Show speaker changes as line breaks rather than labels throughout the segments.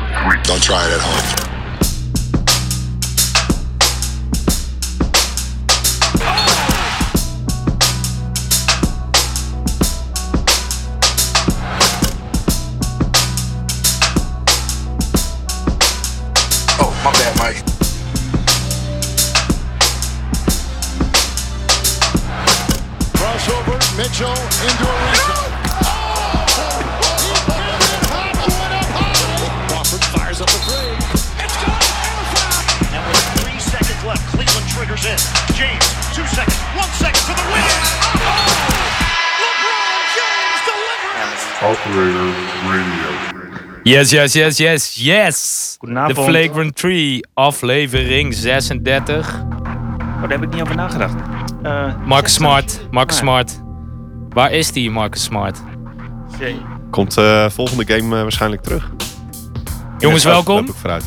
and try it at home. Oh, my bad, Mike.
Crossover, Mitchell into a ring.
Crawford fires up a three. It's good. And a foul.
And with three seconds left, Cleveland triggers in. James, two seconds, one second for the win.
LeBron James delivers.
Operator Radio.
Yes, yes, yes, yes, yes.
Goedenavond.
De Flagrant Tree, aflevering 36.
Oh, daar heb ik niet over nagedacht. Eh,
Marcus Smart, Marcus
Ah.
Smart. Waar is die Marcus Smart?
jee.
Komt eh volgende game eh, waarschijnlijk terug.
Jongens,
Ja,
welkom.
Loop ik vooruit.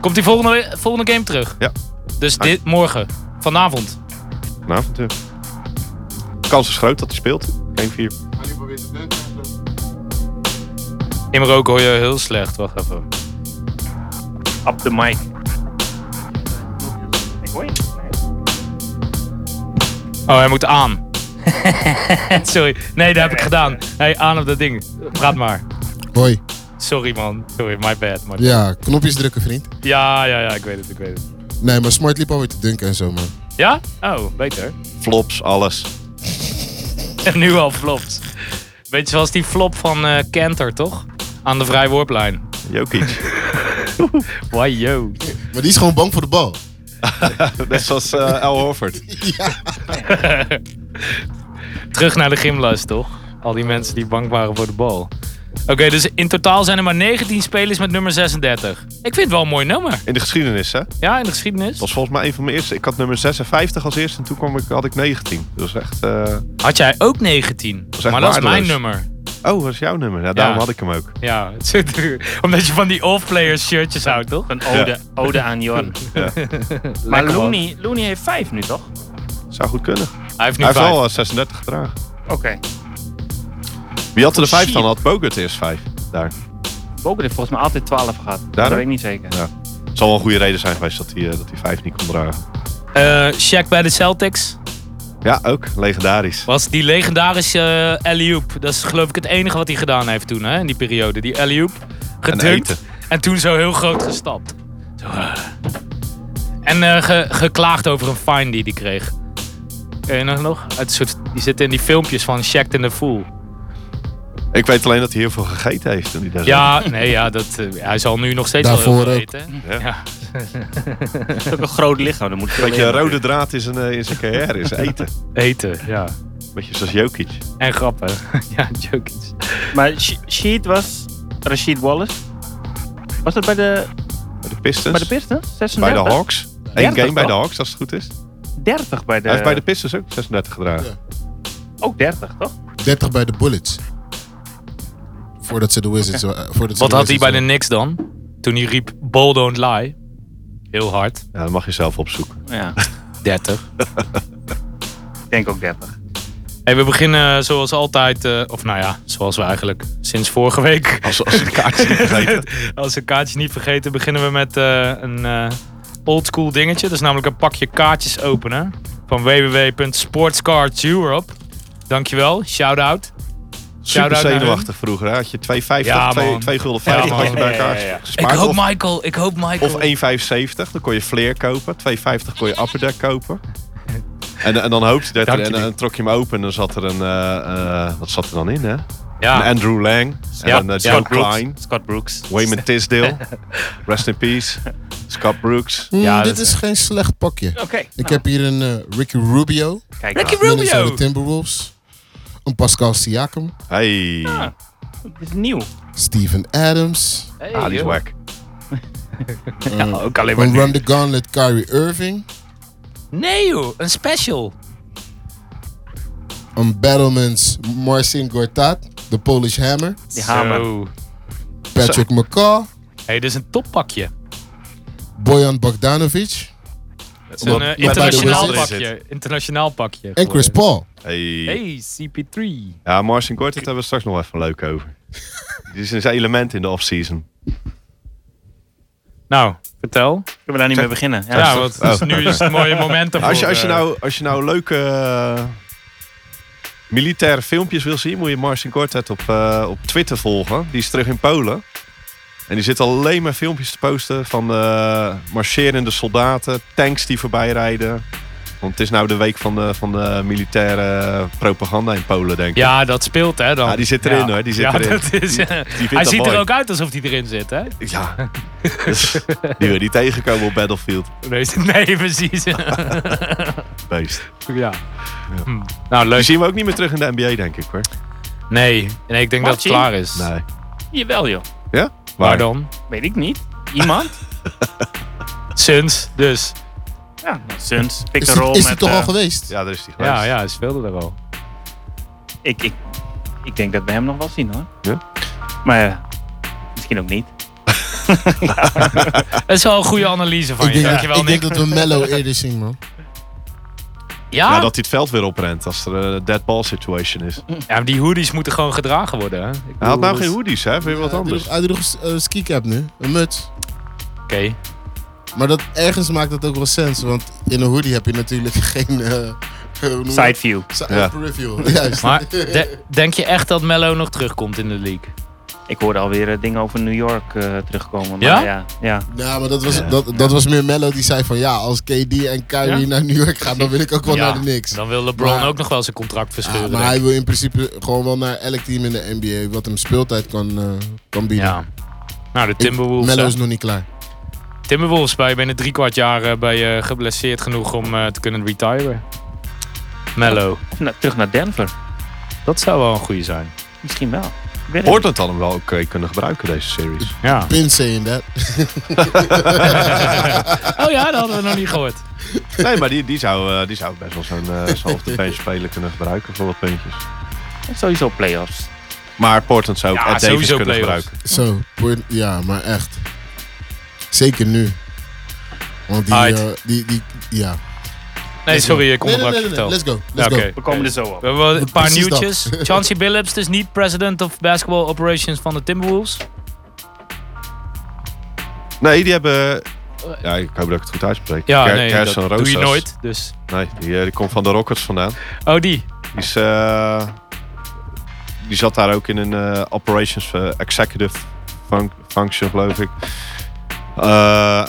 Komt die volgende, volgende game terug?
Ja.
Dus dit morgen, vanavond.
Vanavond. ja. Nou, Kans is groot dat hij speelt. Game 4.
In Marokko hoor je heel slecht, wacht even.
Up the mic. Ik hoor je.
Oh, hij moet aan. Sorry, nee, dat heb ik gedaan. Nee, aan op dat ding. Praat maar.
Hoi.
Sorry man, sorry, my bad. My bad.
Ja, knopjes drukken, vriend.
Ja, ja, ja, ik weet het, ik weet het.
Nee, maar Smart liep alweer te dunken en zo, man.
Ja? Oh, beter.
Flops, alles.
En nu al flopt. Beetje zoals die flop van eh Kenter, toch? Aan de vrijworplijn.
Jokic.
Why yo.
Maar die is gewoon bang voor de bal.
Net zoals eh Al Horford.
Terug naar de gymles, toch? Al die mensen die bang waren voor de bal. Oké, dus in totaal zijn er maar 19 spelers met nummer 36. Ik vind het wel een mooi nummer.
In de geschiedenis, hè? Dat
Ja, in de geschiedenis.
was volgens mij een van mijn eerste. Ik had nummer 56 als eerste en toen kwam ik, had ik 19. Dat was echt... eh,
Had jij ook 19?
is echt
Maar dat is mijn
waardeloos.
nummer.
Oh, dat is jouw nummer. Ja, daarom
Ja.
had ik hem ook.
Ja, het is zo duur. Omdat je van die off-players shirtjes houdt, toch?
Een ode, ode aan Johan.
Ja.
Maar
man.
Looney, Looney heeft vijf nu, toch?
Zou goed kunnen.
Hij heeft nu
Hij heeft
vijf.
al 36 gedragen.
Oké.
Wie had er de 5 dan?
Shit.
Had Bogert eerst 5. Daar.
Boker heeft volgens mij altijd 12 gehad. Dat
Daarom?
weet ik niet zeker.
Ja. Zal wel een goede reden zijn geweest dat hij, eh, dat hij 5 niet kon dragen.
Eh, Shaq bij de Celtics.
Ja, ook. Legendarisch.
Was die legendarische uh, alley-oop. Dat is geloof ik het enige wat hij gedaan heeft toen, hè? In die periode. Die alley-oop. Gedunkt.
eten.
En, toen zo heel groot gestapt. Zo, eh. En eh, ge- geklaagd over een fine die hij kreeg. Ken je nog nog? Het soort, die zitten in die filmpjes van Shaq in the Fool.
Ik weet alleen dat hij heel veel gegeten heeft. En die daar
Ja, nee, ja, dat, eh, hij zal nu nog steeds wel heel
Daarvoor
veel
ook.
eten.
Ja.
Ja.
Dat is ook een groot lichaam. Dan moet
Een beetje een rode draad in zijn, eh, in zijn carrière is eten.
Eten, ja.
beetje zoals Jokic.
En grappen. ja, jokies.
Maar Sh- Sheet was Rashid Wallace. Was dat bij de,
Bij de Pistons.
bij de Pistons? 36?
Bij de Hawks. Eén
30
game bij de
toch?
Hawks, als het goed is.
30 bij de...
Hij heeft bij de Pistons ook 36 gedragen.
Ja.
Ook 30, toch?
30 bij de Bullets. Voordat ze de Wizards... wa- eh, Voordat ze
Wat
de
had hij bij
Wizards
de Knicks dan? Toen hij riep, ball don't lie. Heel hard.
Ja, dat mag je zelf opzoeken.
Ja,
30.
ik denk ook 30.
Hey, we beginnen eh, zoals altijd, eh, of nou ja, zoals we eigenlijk sinds vorige week.
Als, als een kaartje niet vergeten.
Als we kaartjes niet vergeten, beginnen we met eh, een eh oldschool dingetje. Dat is namelijk een pakje kaartjes openen van www.sportscardseurope. Dankjewel, shout-out.
Super
Shout-out naar
zenuwachtig vroeger. hè. Had je 2,50,
Ja, man.
2 2 gulden 50
Ja,
had je
man.
bij elkaar
Ja, ja, ja.
gespaard. Of-
Michael, ik hoop Michael.
Of 1,75. Dan kon je Fleer kopen. 2,50 kon je Upper Deck kopen. En, en dan hoopte je dat
Dank
er, en,
jullie.
en trok je hem open en dan zat er een... eh, eh, wat zat er dan in, hè?
ja,
Een Andrew Lang.
Ah. Ja.
En een eh, Joe
Scott Brooks.
Klein.
Scott Brooks.
Wayman Tisdale. Rest in peace. Scott Brooks.
Hmm,
Ja,
dit
dat-
is geen slecht pakje.
Oké.
Ik heb hier een eh, Ricky Rubio.
Kijk
Ricky
nou,
Minnesota
Rubio.
Timberwolves. Een Pascal Siakam.
Hey.
Ah,
dit is nieuw.
Steven Adams.
Hey,
ah, die is
joh.
wack.
eh,
Ook alleen maar
Van
nu.
Run the Gauntlet, Kyrie Irving.
Nee joh, een special.
Een Battlements, Marcin Gortat. De Polish Hammer.
Die hamer.
Zo.
Patrick McCall.
hey, dit is een toppakje.
Bojan Bogdanovic.
Het is een
Omdat-
eh,
omdat bij de
internationaal
Wizards
pakje. Internationaal pakje.
En Chris
geworden.
Paul.
Hey.
Hey, CP3.
Ja, Marcin Gortat daar hebben we straks nog even leuk over. Die is een element in de offseason.
Nou, vertel.
Kunnen we daar niet mee beginnen? Ja,
Ja,
dat
want dus nu is het een mooie moment ervoor.
Oh. Als je, als je,
eh,
nou, als je nou leuke eh, militaire filmpjes wil zien, moet je Marcin Kortet op, eh, op Twitter volgen. Die is terug in Polen. En die zit alleen maar filmpjes te posten van eh, marcherende soldaten, tanks die voorbij rijden. Want het is nou de week van de, van de militaire propaganda in Polen, denk ik.
Ja, dat speelt hè dan.
Ja, Ah, die zit erin, hoor, die zit
ja,
erin.
Dat is,
Die- die vindt
hij
dat
ziet
mooi.
er ook uit alsof hij erin zit, hè?
ja. Dus die wil je niet tegenkomen op Battlefield.
Nee, nee precies.
Beest.
ja. Hm. Nou,
Die
leuk.
zien we ook niet meer terug in de NBA, denk ik hoor.
Nee, nee ik denk dat het
Martin?
klaar is.
Nee.
Jawel joh.
Ja?
Waar dan?
Weet ik niet. Iemand?
Sinds, dus.
ja, Suns, pick
Is
and
die,
roll
is die
met...
toch
eh,
al geweest?
Ja, daar is die geweest.
Ja, ja, hij speelde er al.
ik, ik, ik denk dat we hem nog wel zien hoor.
Ja?
Maar eh, misschien ook niet.
Dat is wel een goede analyse van
Ik
je.
denk,
Dankjewel,
ik denk
Nick.
dat we Mello eerder zien, man.
Ja?
Ja,
Ja,
dat hij het veld weer oprent als er een dead ball situation is.
maar die hoodies moeten gewoon gedragen worden. Hè? Ik
Hij
bedoel, dus-
had nou
dat
geen
is-
hoodies, hè? Vind je wat
Hij
anders?
droeg- Hij droeg een ski cap nu, een muts.
Oké.
Maar dat, ergens maakt dat ook wel sens, want in een hoodie heb je natuurlijk geen... eh
Side view.
Ja.
review, juist.
Maar de- denk je echt dat Mello nog terugkomt in de league?
Ik hoorde alweer eh, dingen over New York eh, terugkomen. Maar
Ja?
ja? Ja,
Ja, Nou, maar dat was, dat, dat was meer Mello die zei van ja, als KD en Kyrie
Ja?
naar New York gaan, dan wil ik ook wel
Ja,
naar de Knicks.
Dan wil LeBron
Maar-
ook nog wel zijn contract
Ja, maar
verscheuren. denk
hij
ik.
wil in principe gewoon wel naar elk team in de NBA, wat hem speeltijd kan, eh, kan bieden.
ja. Nou, de
Ik-
Timberwolves.
Mello
hè?
is nog niet klaar.
Timberwolves bij binnen drie kwart jaar eh, ben je geblesseerd genoeg om eh, te kunnen retiren. Mello.
Of na- terug naar Denver.
Dat zou wel een goede zijn.
Misschien wel. Ik weet het
Portland had hem wel oké kunnen gebruiken, deze series.
Ja.
Pin saying that.
Oh ja, dat hadden we nog niet gehoord.
Nee, maar die, die, zou, eh, die zou best wel zo'n eh zo'n off-the-bench speler kunnen gebruiken voor wat puntjes.
niet. Sowieso playoffs.
Maar Portland zou ook
Ja,
Ed Davis
sowieso
kunnen
playoffs.
gebruiken.
Zo, voor- ja, maar echt. Zeker nu. Want die,
Alright.
eh, die, die, ja.
Nee, sorry, ik
Nee, nee, nee,
onderbrak je
nee, nee,
vertel.
let's go,
Ja,
let's
oké.
go.
We komen er zo op.
We hebben wel een paar
Precies dat.
nieuwtjes. Chauncey Billups is niet president of basketball operations van de Timberwolves.
Nee, die hebben... Ja, ik hoop dat ik het goed uitspreek.
Ja,
Ger-
nee,
Gerson
dat doe je
Rosas.
nooit. Dus.
Nee, die, eh, die komt van de Rockets vandaan.
Oh, die.
Die, is, eh, die zat daar ook in een eh, operations eh, executive func- function, geloof ik. Eh,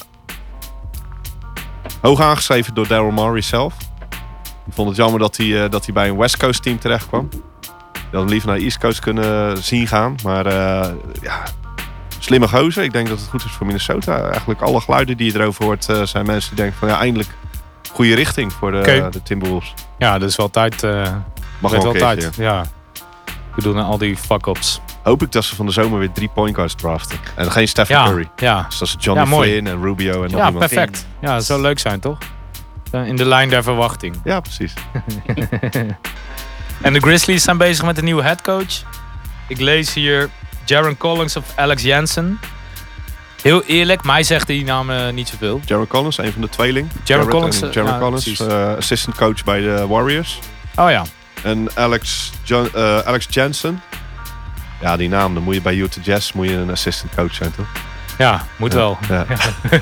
hoog aangeschreven door Daryl Murray zelf. Ik vond het jammer dat hij, eh, dat hij bij een West Coast team terecht kwam. Die had hem liever naar East Coast kunnen zien gaan. Maar eh, ja, slimme gozer. Ik denk dat het goed is voor Minnesota. Eigenlijk alle geluiden die je erover hoort eh, zijn mensen die denken van ja, eindelijk goede richting voor de,
Oké.
de Timberwolves.
Ja, dat is wel tijd. eh
Mag
werd
wel een
wel
keertje.
tijd. Ja. We doen al die fuck-ups.
Hoop ik dat ze van de zomer weer drie point guards draften. En geen Stephen
Ja,
Curry.
ja.
Dus dat is Johnny
Ja, mooi.
Flynn en Rubio en nog
Ja,
iemand.
perfect. Ja, dat zou leuk zijn, toch? Eh, In de lijn der verwachting.
Ja, precies.
En de Grizzlies zijn bezig met een nieuwe headcoach. Ik lees hier Jaron Collins of Alex Jensen. Heel eerlijk, mij zegt die naam eh, niet zoveel.
Jaron Collins, een van de tweeling.
Jaron
Jarrett
Collins,
en
eh,
Jaron
ja,
Collins,
precies.
eh, assistant coach bij de Warriors.
Oh ja,
En Alex, Jo- eh, Alex Jensen. Ja, die naam. Dan moet je bij Utah Jazz moet je een assistant coach zijn, toch?
ja, moet wel. Oké.
Ja.
En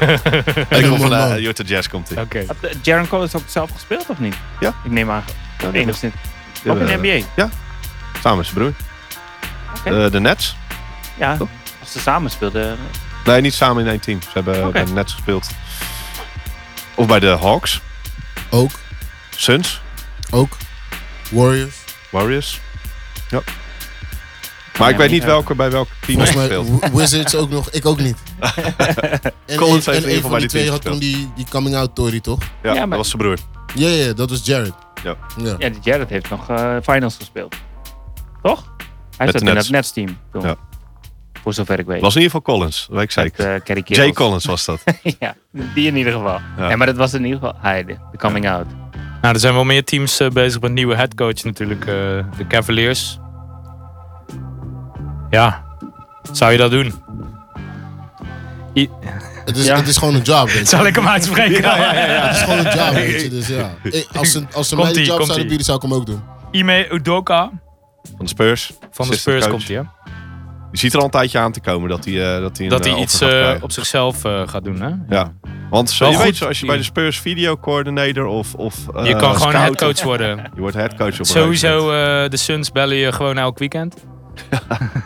Ik kom
een
van
man.
eh, Utah Jazz komt hij.
Had eh, Jaron Collins ook zelf gespeeld of niet?
Ja.
Ik neem aan.
Ja, die-
Enigszins.
die-
ook in de
eh,
NBA.
Samen met zijn broer.
Oké.
Eh, de Nets.
Ja,
Oh.
als ze samen speelden. eh,
Nee, niet samen in één team. Ze hebben
Oké.
bij de Nets gespeeld. Of bij de Hawks.
Ook,
Suns.
ook. Warriors.
Warriors. Ja. Maar ik
Ja,
weet
niet
niet welke bij welk team hij
Volgens mij
speelt.
Wi- Wizards ook nog, ik ook niet. En een-
Collins heeft
en
in ieder geval
een
bij
van
die
die twee
teams
had toen die, die coming out Tory, toch?
Ja,
Ja, maar-
dat was zijn broer.
Ja, ja, ja, dat was Jared.
Ja.
ja.
Ja, die Jared heeft nog eh, finals gespeeld. Toch? Hij
Met
zat
de
in
Nets.
dat Nets-team toen.
Ja.
Voor zover ik weet.
Was in ieder geval Collins, dat weet ik
Met,
zeker.
eh, Kerry
Jay
Kittles.
Collins was dat.
ja, die in ieder geval.
Ja.
Nee, maar dat was in ieder geval hij, de de coming out.
Nou, er zijn wel meer teams eh, bezig met een nieuwe headcoach natuurlijk. eh, de Cavaliers. Ja, zou je dat doen?
Het, is,
Ja.
het is gewoon een job, weet je.
Zal ik hem uitspreken?
Het is gewoon een job, weet je. Dus ja. Ik- als ze, als ze mij die
Komt-ie,
job
komt-ie.
zouden bieden, zou ik hem ook doen.
Ime Udoka
Van de Spurs.
van de Spurs komt hij, hè?
Je ziet er al een tijdje aan te komen dat hij, eh, dat hij, een,
Dat hij
eh,
iets
offer gaat
eh,
krijgen.
op zichzelf eh, gaat doen, hè?
Ja. Want zo,
Wel
je
goed.
weet, zo, als je bij de Spurs video coördinator of, of eh,
Je kan gewoon
scout of-
headcoach worden.
Je wordt headcoach op een gegeven
Sowieso, eh, de Suns bellen je gewoon elk weekend.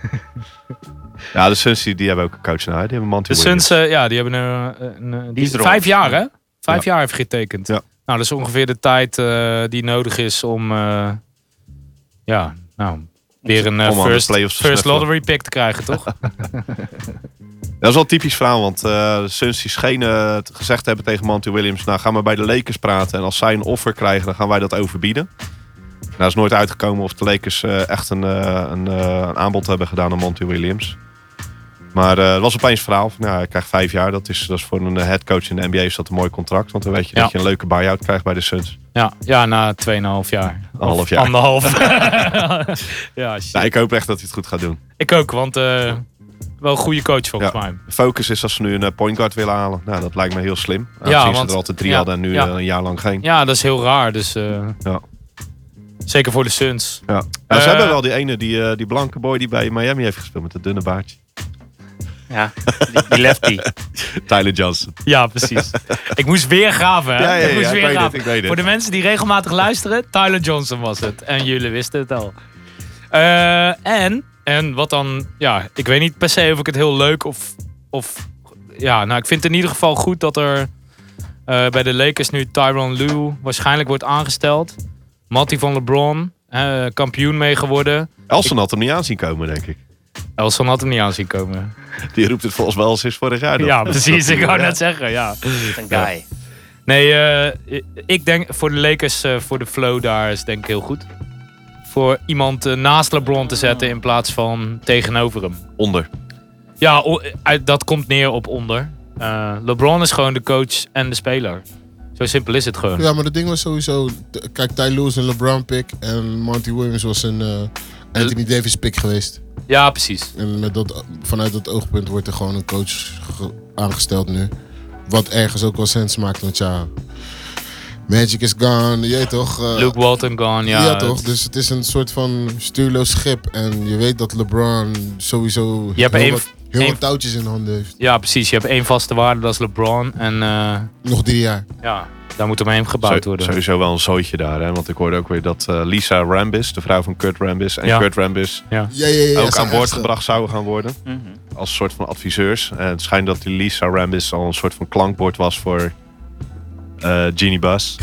moment. Ja, de Suns die, die hebben ook een coach naar. Die hebben Monty
De
Williams.
Suns, eh, ja, die hebben een, eh, een- een- die
is erop.
vijf jaar, hè? Vijf jaar heeft getekend.
Ja.
Nou, dat is ongeveer de tijd eh, die nodig is om, eh, ja, nou, weer een eh,
Om aan de
first,
playoffs te
first
snuffelen.
lottery pick te krijgen, toch?
Dat is wel een typisch verhaal, want eh, de Suns die schenen het gezegd te hebben tegen Monty Williams... nou, ga maar bij de Lakers praten en als zij een offer krijgen, dan gaan wij dat overbieden. Nou, is nooit uitgekomen of de Lakers eh, echt een, eh, een, eh, een aanbod hebben gedaan aan Monty Williams. Maar eh het was opeens een verhaal van, nou, hij krijgt vijf jaar. Dat is, dat is voor een eh, headcoach in de NBA is dat een mooi contract. Want dan weet je
Ja.
dat je een leuke buy-out krijgt bij de Suns.
ja, ja, na 2,5 jaar.
Een half
Of
jaar.
Anderhalf. ja, shit.
Nou, ik hoop echt dat hij het goed gaat doen.
Ik ook, want eh, wel een goede coach volgens
Ja.
mij.
De focus is als ze nu een eh, point guard willen halen. Nou, dat lijkt me heel slim. Aangezien
want-
ze er altijd drie
ja,
hadden en nu
ja.
eh, een jaar lang geen.
Ja, dat is heel raar. Dus, eh,
Ja.
Zeker voor de Suns.
Ja. Nou, ze
Eh,
hebben wel die ene, die, eh, die blanke boy die bij Miami heeft gespeeld met het dunne baardje.
Ja, die, die lefty.
Tyler Johnson.
Ja, precies. ik moest weer graven. Hè?
Ja, ja, ja,
ik moest
ik
weer
weet het,
graven.
ik weet het.
Voor de mensen die regelmatig luisteren, Tyler Johnson was het. En jullie wisten het al. Eh, en, en wat dan, ja, ik weet niet per se of ik het heel leuk of, of ja, nou, ik vind het in ieder geval goed dat er eh, bij de Lakers nu Tyronn Lue waarschijnlijk wordt aangesteld. Matty van LeBron, eh, kampioen mee geworden.
Elson had hem niet aanzien komen, denk ik.
Elson had hem niet aan zien komen.
Die roept het volgens mij al sinds vorig jaar. dat-
Ja,
dat-
precies.
dat-
Ik wou
ja.
net zeggen, ja.
Een guy.
Nee, eh, ik denk voor de Lakers, eh, voor de flow daar is denk ik heel goed. Voor iemand eh, naast LeBron te zetten in plaats van tegenover hem.
Onder.
Ja, o- eh, uit- dat komt neer op onder. Eh, LeBron is gewoon de coach en de speler. Zo simpel is het gewoon.
Ja, maar dat ding was sowieso... t- Kijk, Ty Lue is een LeBron pick en Monty Williams was een eh, Anthony Davis pick geweest.
Ja, precies.
En met dat, vanuit dat oogpunt wordt er gewoon een coach ge- aangesteld nu. Wat ergens ook wel sens maakt, want ja... Magic is gone, je weet toch? eh,
Luke Walton gone, ja.
Ja, toch?
het-
Dus het is een soort van stuurloos schip. En je weet dat LeBron sowieso
Je hebt
heel,
één-
wat, heel
één-
wat touwtjes in handen heeft.
ja, precies. Je hebt één vaste waarde, dat is LeBron. En eh,
Nog drie jaar.
ja, daar moet omheen
Zo-
gebouwd worden.
sowieso wel een zootje daar. Hè? Want ik hoorde ook weer dat eh, Lisa Rambis, de vrouw van Kurt Rambis... en
Ja.
Kurt Rambis
Ja, ja, ja, ja,
ook
zijn
aan boord
extra.
eh,
gebracht zouden gaan worden. Als soort van adviseurs. En het schijnt dat die Lisa Rambis al een soort van klankbord was voor eh Genie Bus.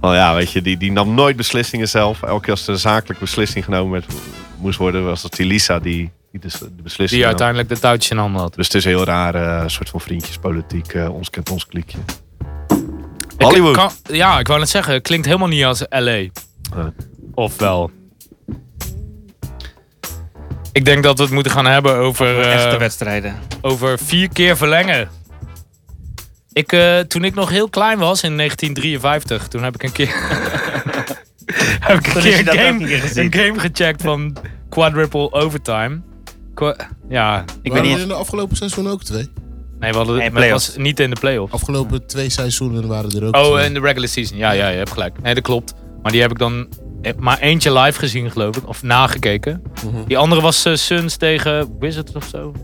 Want ja, weet je, die, die nam nooit beslissingen zelf. Elke keer als er een zakelijke beslissing genomen werd, moest worden, was dat die Lisa die, die dus de, de beslissing
Die
nam.
uiteindelijk de touwtje in handen had.
Dus het is een heel raar, eh, soort van vriendjespolitiek. eh, ons kent ons kliekje. Hollywood.
Ik kan- ja, ik wou net zeggen, het klinkt helemaal niet als LA.
Eh.
Of wel. Ik denk dat we het moeten gaan hebben over, eh,
Echte wedstrijden.
over vier keer verlengen. Ik, eh, toen ik nog heel klein was, in 1953, toen heb ik een keer, heb ik een,
Toen
keer
is je
een,
dat ook
game,
een keer
een
gezien.
game gecheckt van Quadruple Overtime. Qua- ja,
Ik weet
eh, Waren
niet.
er in de afgelopen seizoen ook twee?
nee, we hadden, maar
Nee,
het
playoffs.
was niet in de playoffs.
Afgelopen twee seizoenen waren er ook
Oh,
eh,
twee.
in de regular season. Ja, ja, je hebt gelijk. Nee, dat klopt. Maar die heb ik dan eh, maar eentje live gezien, geloof ik. Of nagekeken.
Mhm.
Die andere was eh, Suns tegen Wizards of zo.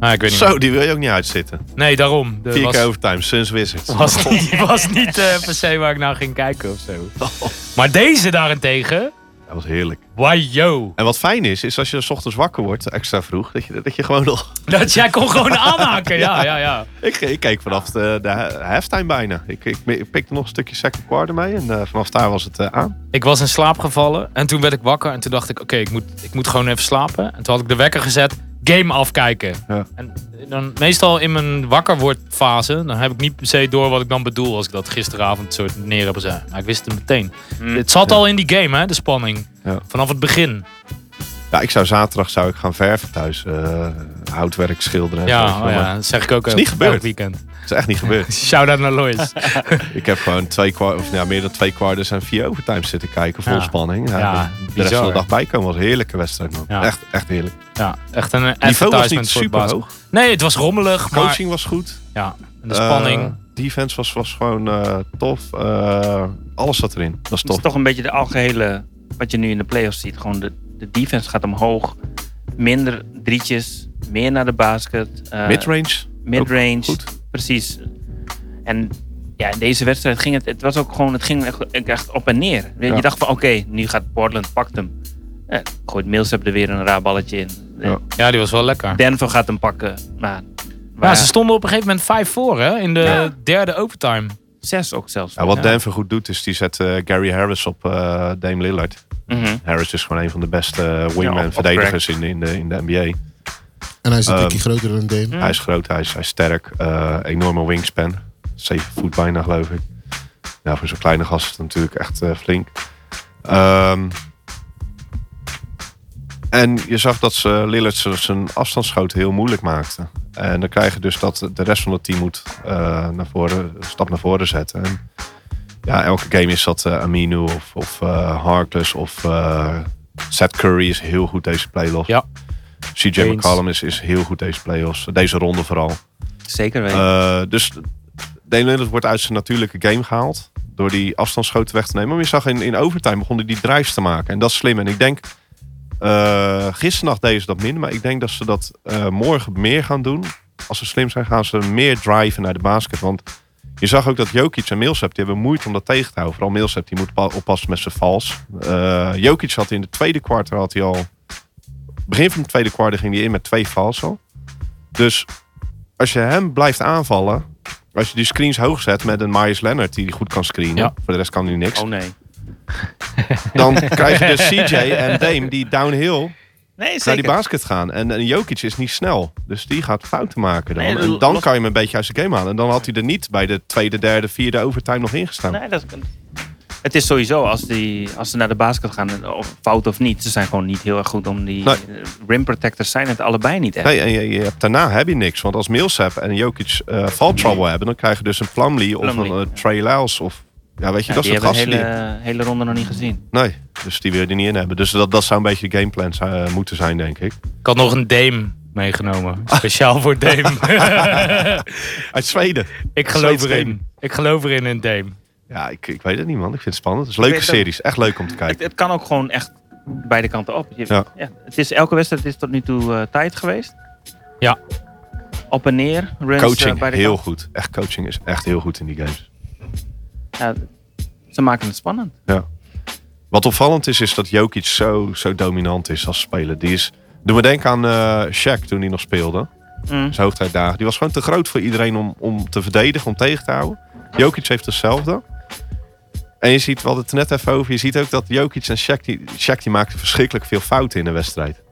Ah, ik weet niet.
Zo, die wil je ook niet uitzitten.
meer. Nee, daarom. De
Vier
was,
keer overtime, Suns Wizards.
was niet, was niet eh, per se waar ik naar ging kijken of zo.
Oh.
Maar deze daarentegen.
Dat was heerlijk.
Wajo.
En wat fijn is, is als je 's ochtends wakker wordt, extra vroeg, dat je, dat je gewoon nog...
Dat jij kon gewoon aanhaken. Ja, ja, ja.
Ik, ik keek vanaf de, de halftime bijna. Ik, ik, ik pikte nog een stukje second quarter mee en eh, vanaf daar was het eh, aan.
Ik was in slaap gevallen en toen werd ik wakker en toen dacht ik, oké, ik, moet, ik moet gewoon even slapen. En toen had ik de wekker gezet, game afkijken.
Ja.
En dan, meestal in mijn wakker wordfase, dan heb ik niet per se door wat ik dan bedoel als ik dat gisteravond soort neer heb gezet. Maar ik wist het meteen. Het zat al in die game, hè, de spanning.
Ja.
Vanaf het begin.
Ja, ik zou zaterdag zou ik gaan verven thuis. eh, houtwerk schilderen. en zo,
Ja,
weet je
oh
wel.
ja, dat zeg ik ook
is
elk-
niet gebeurd.
elk weekend.
Het is echt niet gebeurd.
Shout-out naar Lois.
ik heb gewoon twee kwart, of, ja, meer dan twee kwarters en vier overtimes zitten kijken. Vol
Ja.
spanning. Ja,
Ja,
de rest van de
bizar.
dag bijkomen was een heerlijke wedstrijd. Man.
Ja.
Echt, echt heerlijk.
ja, echt een
Niveau was niet
advertisement voor het
super
basketbal.
hoog.
Nee, het was rommelig, maar
Coaching was goed.
ja, en de spanning.
Eh, defense was, was gewoon eh, tof. Eh, alles zat erin. Dat is
Het
tof.
is toch een beetje de algehele, wat je nu in de playoffs ziet. Gewoon de, de defense gaat omhoog. minder drietjes, meer naar de basket. eh,
Midrange.
midrange.
Ook
Precies. En ja, in deze wedstrijd ging het, het was ook gewoon, het ging echt, echt op en neer. Je
Ja.
dacht van oké, nu gaat Portland, pakt hem. Eh, gooit Millsap er weer een raar balletje in. Eh,
Ja.
Ja, die was wel lekker.
Denver gaat hem pakken, maar, maar
Ja, ze stonden op een gegeven moment 5 voor hè, in de
Ja.
derde overtime.
zes ook zelfs.
Ja, wat Denver goed doet, is die zet eh, Gary Harris op eh, Dame Lillard.
Mhm.
Harris is gewoon een van de beste eh,
Ja, op- op
wingman-verdedigers in, de- in, de, in de NBA.
En hij is een
Ehm,
tikje groter dan Dame.
Hij is groot, hij is, hij is sterk. eh, enorme wingspan. 7 voet bijna, geloof ik. Ja, voor zo'n kleine gast is het natuurlijk echt eh, flink. Ehm, en je zag dat ze Lillard z- zijn afstandsschoten heel moeilijk maakte. En dan krijg je dus dat de rest van het team moet eh, naar voren, een stap naar voren zetten. En ja, elke game is dat eh, Aminu of, of eh, Harkless of eh, Seth Curry is heel goed deze playoff.
Ja.
CJ
Eens.
McCollum is, is heel goed deze playoffs. Deze ronde vooral.
Zeker weten.
Eh, dus Dane Lillard wordt uit zijn natuurlijke game gehaald. Door die afstandsschoten weg te nemen. Maar je zag in, in overtime begonnen die drives te maken. En dat is slim. En ik denk, eh gisteren nog deden ze dat minder. Maar ik denk dat ze dat eh, morgen meer gaan doen. Als ze slim zijn, gaan ze meer driven naar de basket. Want je zag ook dat Jokic en Millsap, die hebben moeite om dat tegen te houden. Vooral Millsap, die moet pa- oppassen met zijn vals. Eh Jokic had in de tweede kwart had hij al... Begin van de tweede kwart ging hij in met twee vals al. Dus als je hem blijft aanvallen... Als je die screens hoog zet met een Myers Leonard die goed kan screenen.
Ja.
Voor de rest kan hij niks.
oh nee.
Dan krijg je dus CJ en Dame die downhill
Nee,
naar die
zeker.
basket gaan. En, en Jokic is niet snel. Dus die gaat fouten maken dan.
Nee,
en dan
los-
kan je hem een beetje uit zijn game halen. En dan had hij er niet bij de tweede, derde, vierde overtime nog ingestaan.
Nee, dat kan. Het is sowieso, als, die, als ze naar de basket gaan, of fout of niet, ze zijn gewoon niet heel erg goed om die
Nee.
eh, rim protectors zijn het allebei niet echt.
Nee, en je, je hebt, daarna heb je niks. Want als Millsap en Jokic eh fall trouble hebben... dan krijg je dus een Plumlee of
Plumlee,
een eh,
ja.
Trey Lyles of... Ja, weet je,
Ja,
dat
die
soort
hebben de
gasten. die-
hele, hele ronde nog niet gezien.
Nee, dus die wil je er niet in hebben. Dus dat, dat zou een beetje de gameplan zijn- moeten zijn, denk ik.
Ik had nog een Dame meegenomen. Speciaal voor Dame.
Uit Zweden.
ik geloof
Zweeds
erin. Ik geloof erin in Dame.
Ja, ik, ik weet het niet, man. Ik vind het spannend. Het is een leuke
Ik dus, eh, weet het
series. Echt leuk om te kijken.
Het, het kan ook gewoon echt beide kanten op. Je-
Ja.
ja. het is, elke wedstrijd is tot nu toe eh, tijd geweest.
Ja.
Op en neer. Runs, eh,
Coaching,
beide
heel
kanten.
goed. Echt coaching is echt heel goed in die games.
Ja, ze maken het spannend.
Wat opvallend is, is dat Jokic zo, zo dominant is als speler. Die is, doe me denken aan eh Shaq toen hij nog speelde.
Mm.
Zijn hoogtijdagen. Die was gewoon te groot voor iedereen om, om te verdedigen, om tegen te houden. Jokic heeft hetzelfde. En je ziet, we hadden het er net even over. Je ziet ook dat Jokic en Shaq, die, Shaq die maakten verschrikkelijk veel fouten in de wedstrijd.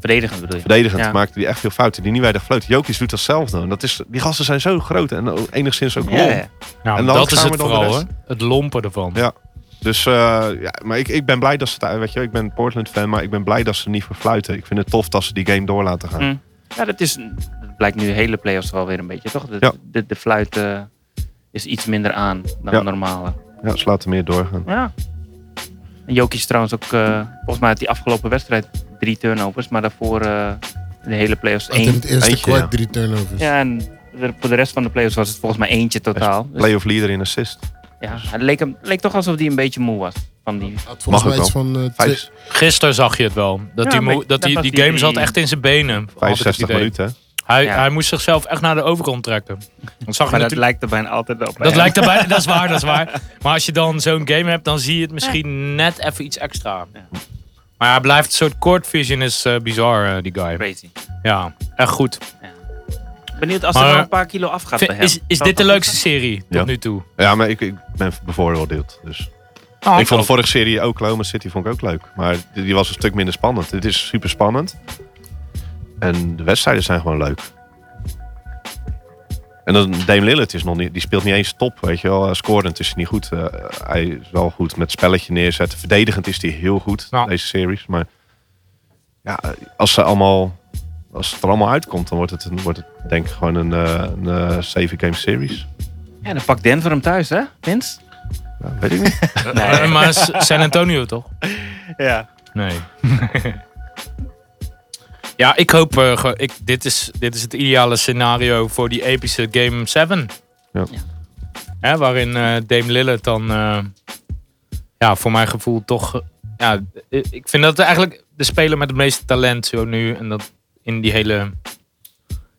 Verdedigend bedoel je?
Verdedigend
Ja.
maakten die echt veel fouten. Die niet weinig floten. Jokic doet datzelfde. En dat is, die gasten zijn zo groot en ook enigszins ook
Ja,
lomp.
ja.
Nou,
En dan
dat is
gaan we
het
dan de
vooral, hè?
rest.
Het lompen ervan.
Ja. Dus, eh, ja, maar ik, ik ben blij dat ze, het- weet je, ik ben een Portland-fan, maar ik ben blij dat ze er niet voor fluiten. Ik vind het tof dat ze die game door laten gaan.
Mm. Ja, dat, is, dat blijkt nu de hele playoffs wel weer een beetje, toch? De,
Ja.
de, de fluit eh, is iets minder aan dan
Ja.
de normale.
Ja, ze laten meer doorgaan.
Ja. En Jokic trouwens ook, eh, volgens mij had die afgelopen wedstrijd drie turnovers, maar daarvoor eh, de hele playoffs
Had in
één.
het eerste
eentje,
kwart
ja.
drie turnovers.
Ja, en de- voor de rest van de playoffs was het volgens mij eentje
Nou,
totaal. Dus,
Playoff leader in assist.
ja, het leek, hem, leek toch alsof hij een beetje moe was van die
Had volgens
Mag
mij iets
ook
van eh, twee-
Vijf,
Gisteren zag je het wel. Dat
Ja,
die,
maar
moe- dat
ik- dat
die,
was
die
die-
game zat echt in zijn benen. had ik het
65
idee.
minuten. hè?
Hij,
Ja.
hij moest zichzelf echt naar de overkant trekken. Dat zag je
Maar dat
natuurlijk.
lijkt er bijna altijd op.
Dat lijkt erbij, dat is waar, dat is waar. Maar als je dan zo'n game hebt, dan zie je het misschien net even iets extra. Maar hij blijft een soort court vision is eh, bizar, eh, die guy.
Crazy.
Ja, echt goed.
Benieuwd als
Maar-
er nog een paar kilo afgaat bij hem.
Is, is
Zou
dit de
dat
leukste serie
Ja.
tot nu toe?
Ja, maar ik, ik ben bevooroordeeld. Dus. ik vond de vorige serie Oklahoma City vond ik ook leuk. Maar die, die was een stuk minder spannend. Dit is super spannend. En de wedstrijden zijn gewoon leuk. En dan Dame Lillard is nog niet, die speelt niet eens top, weet je wel. Eh, Scorend is hij niet goed. Eh, hij is wel goed met spelletje neerzetten. Verdedigend is hij heel goed,
Ja.
deze series. Maar ja, eh, als, ze allemaal, als het er allemaal uitkomt, dan wordt het, een- wordt het denk ik gewoon een, eh, een eh, seven game series.
Ja, dan pakt Denver hem thuis, hè? Vince?
Ja, weet ik niet.
Eh, maar S- San Antonio toch?
Ja.
Nee. ja, ik hoop. eh, ge- ik, dit, is, dit is het ideale scenario voor die epische Game 7.
Ja.
Ja.
Hè, waarin eh, Dame Lillard dan. eh, ja, voor mijn gevoel toch. eh, ja, eh, ik vind dat eigenlijk. de speler met het meeste talent zo nu. En dat in die hele.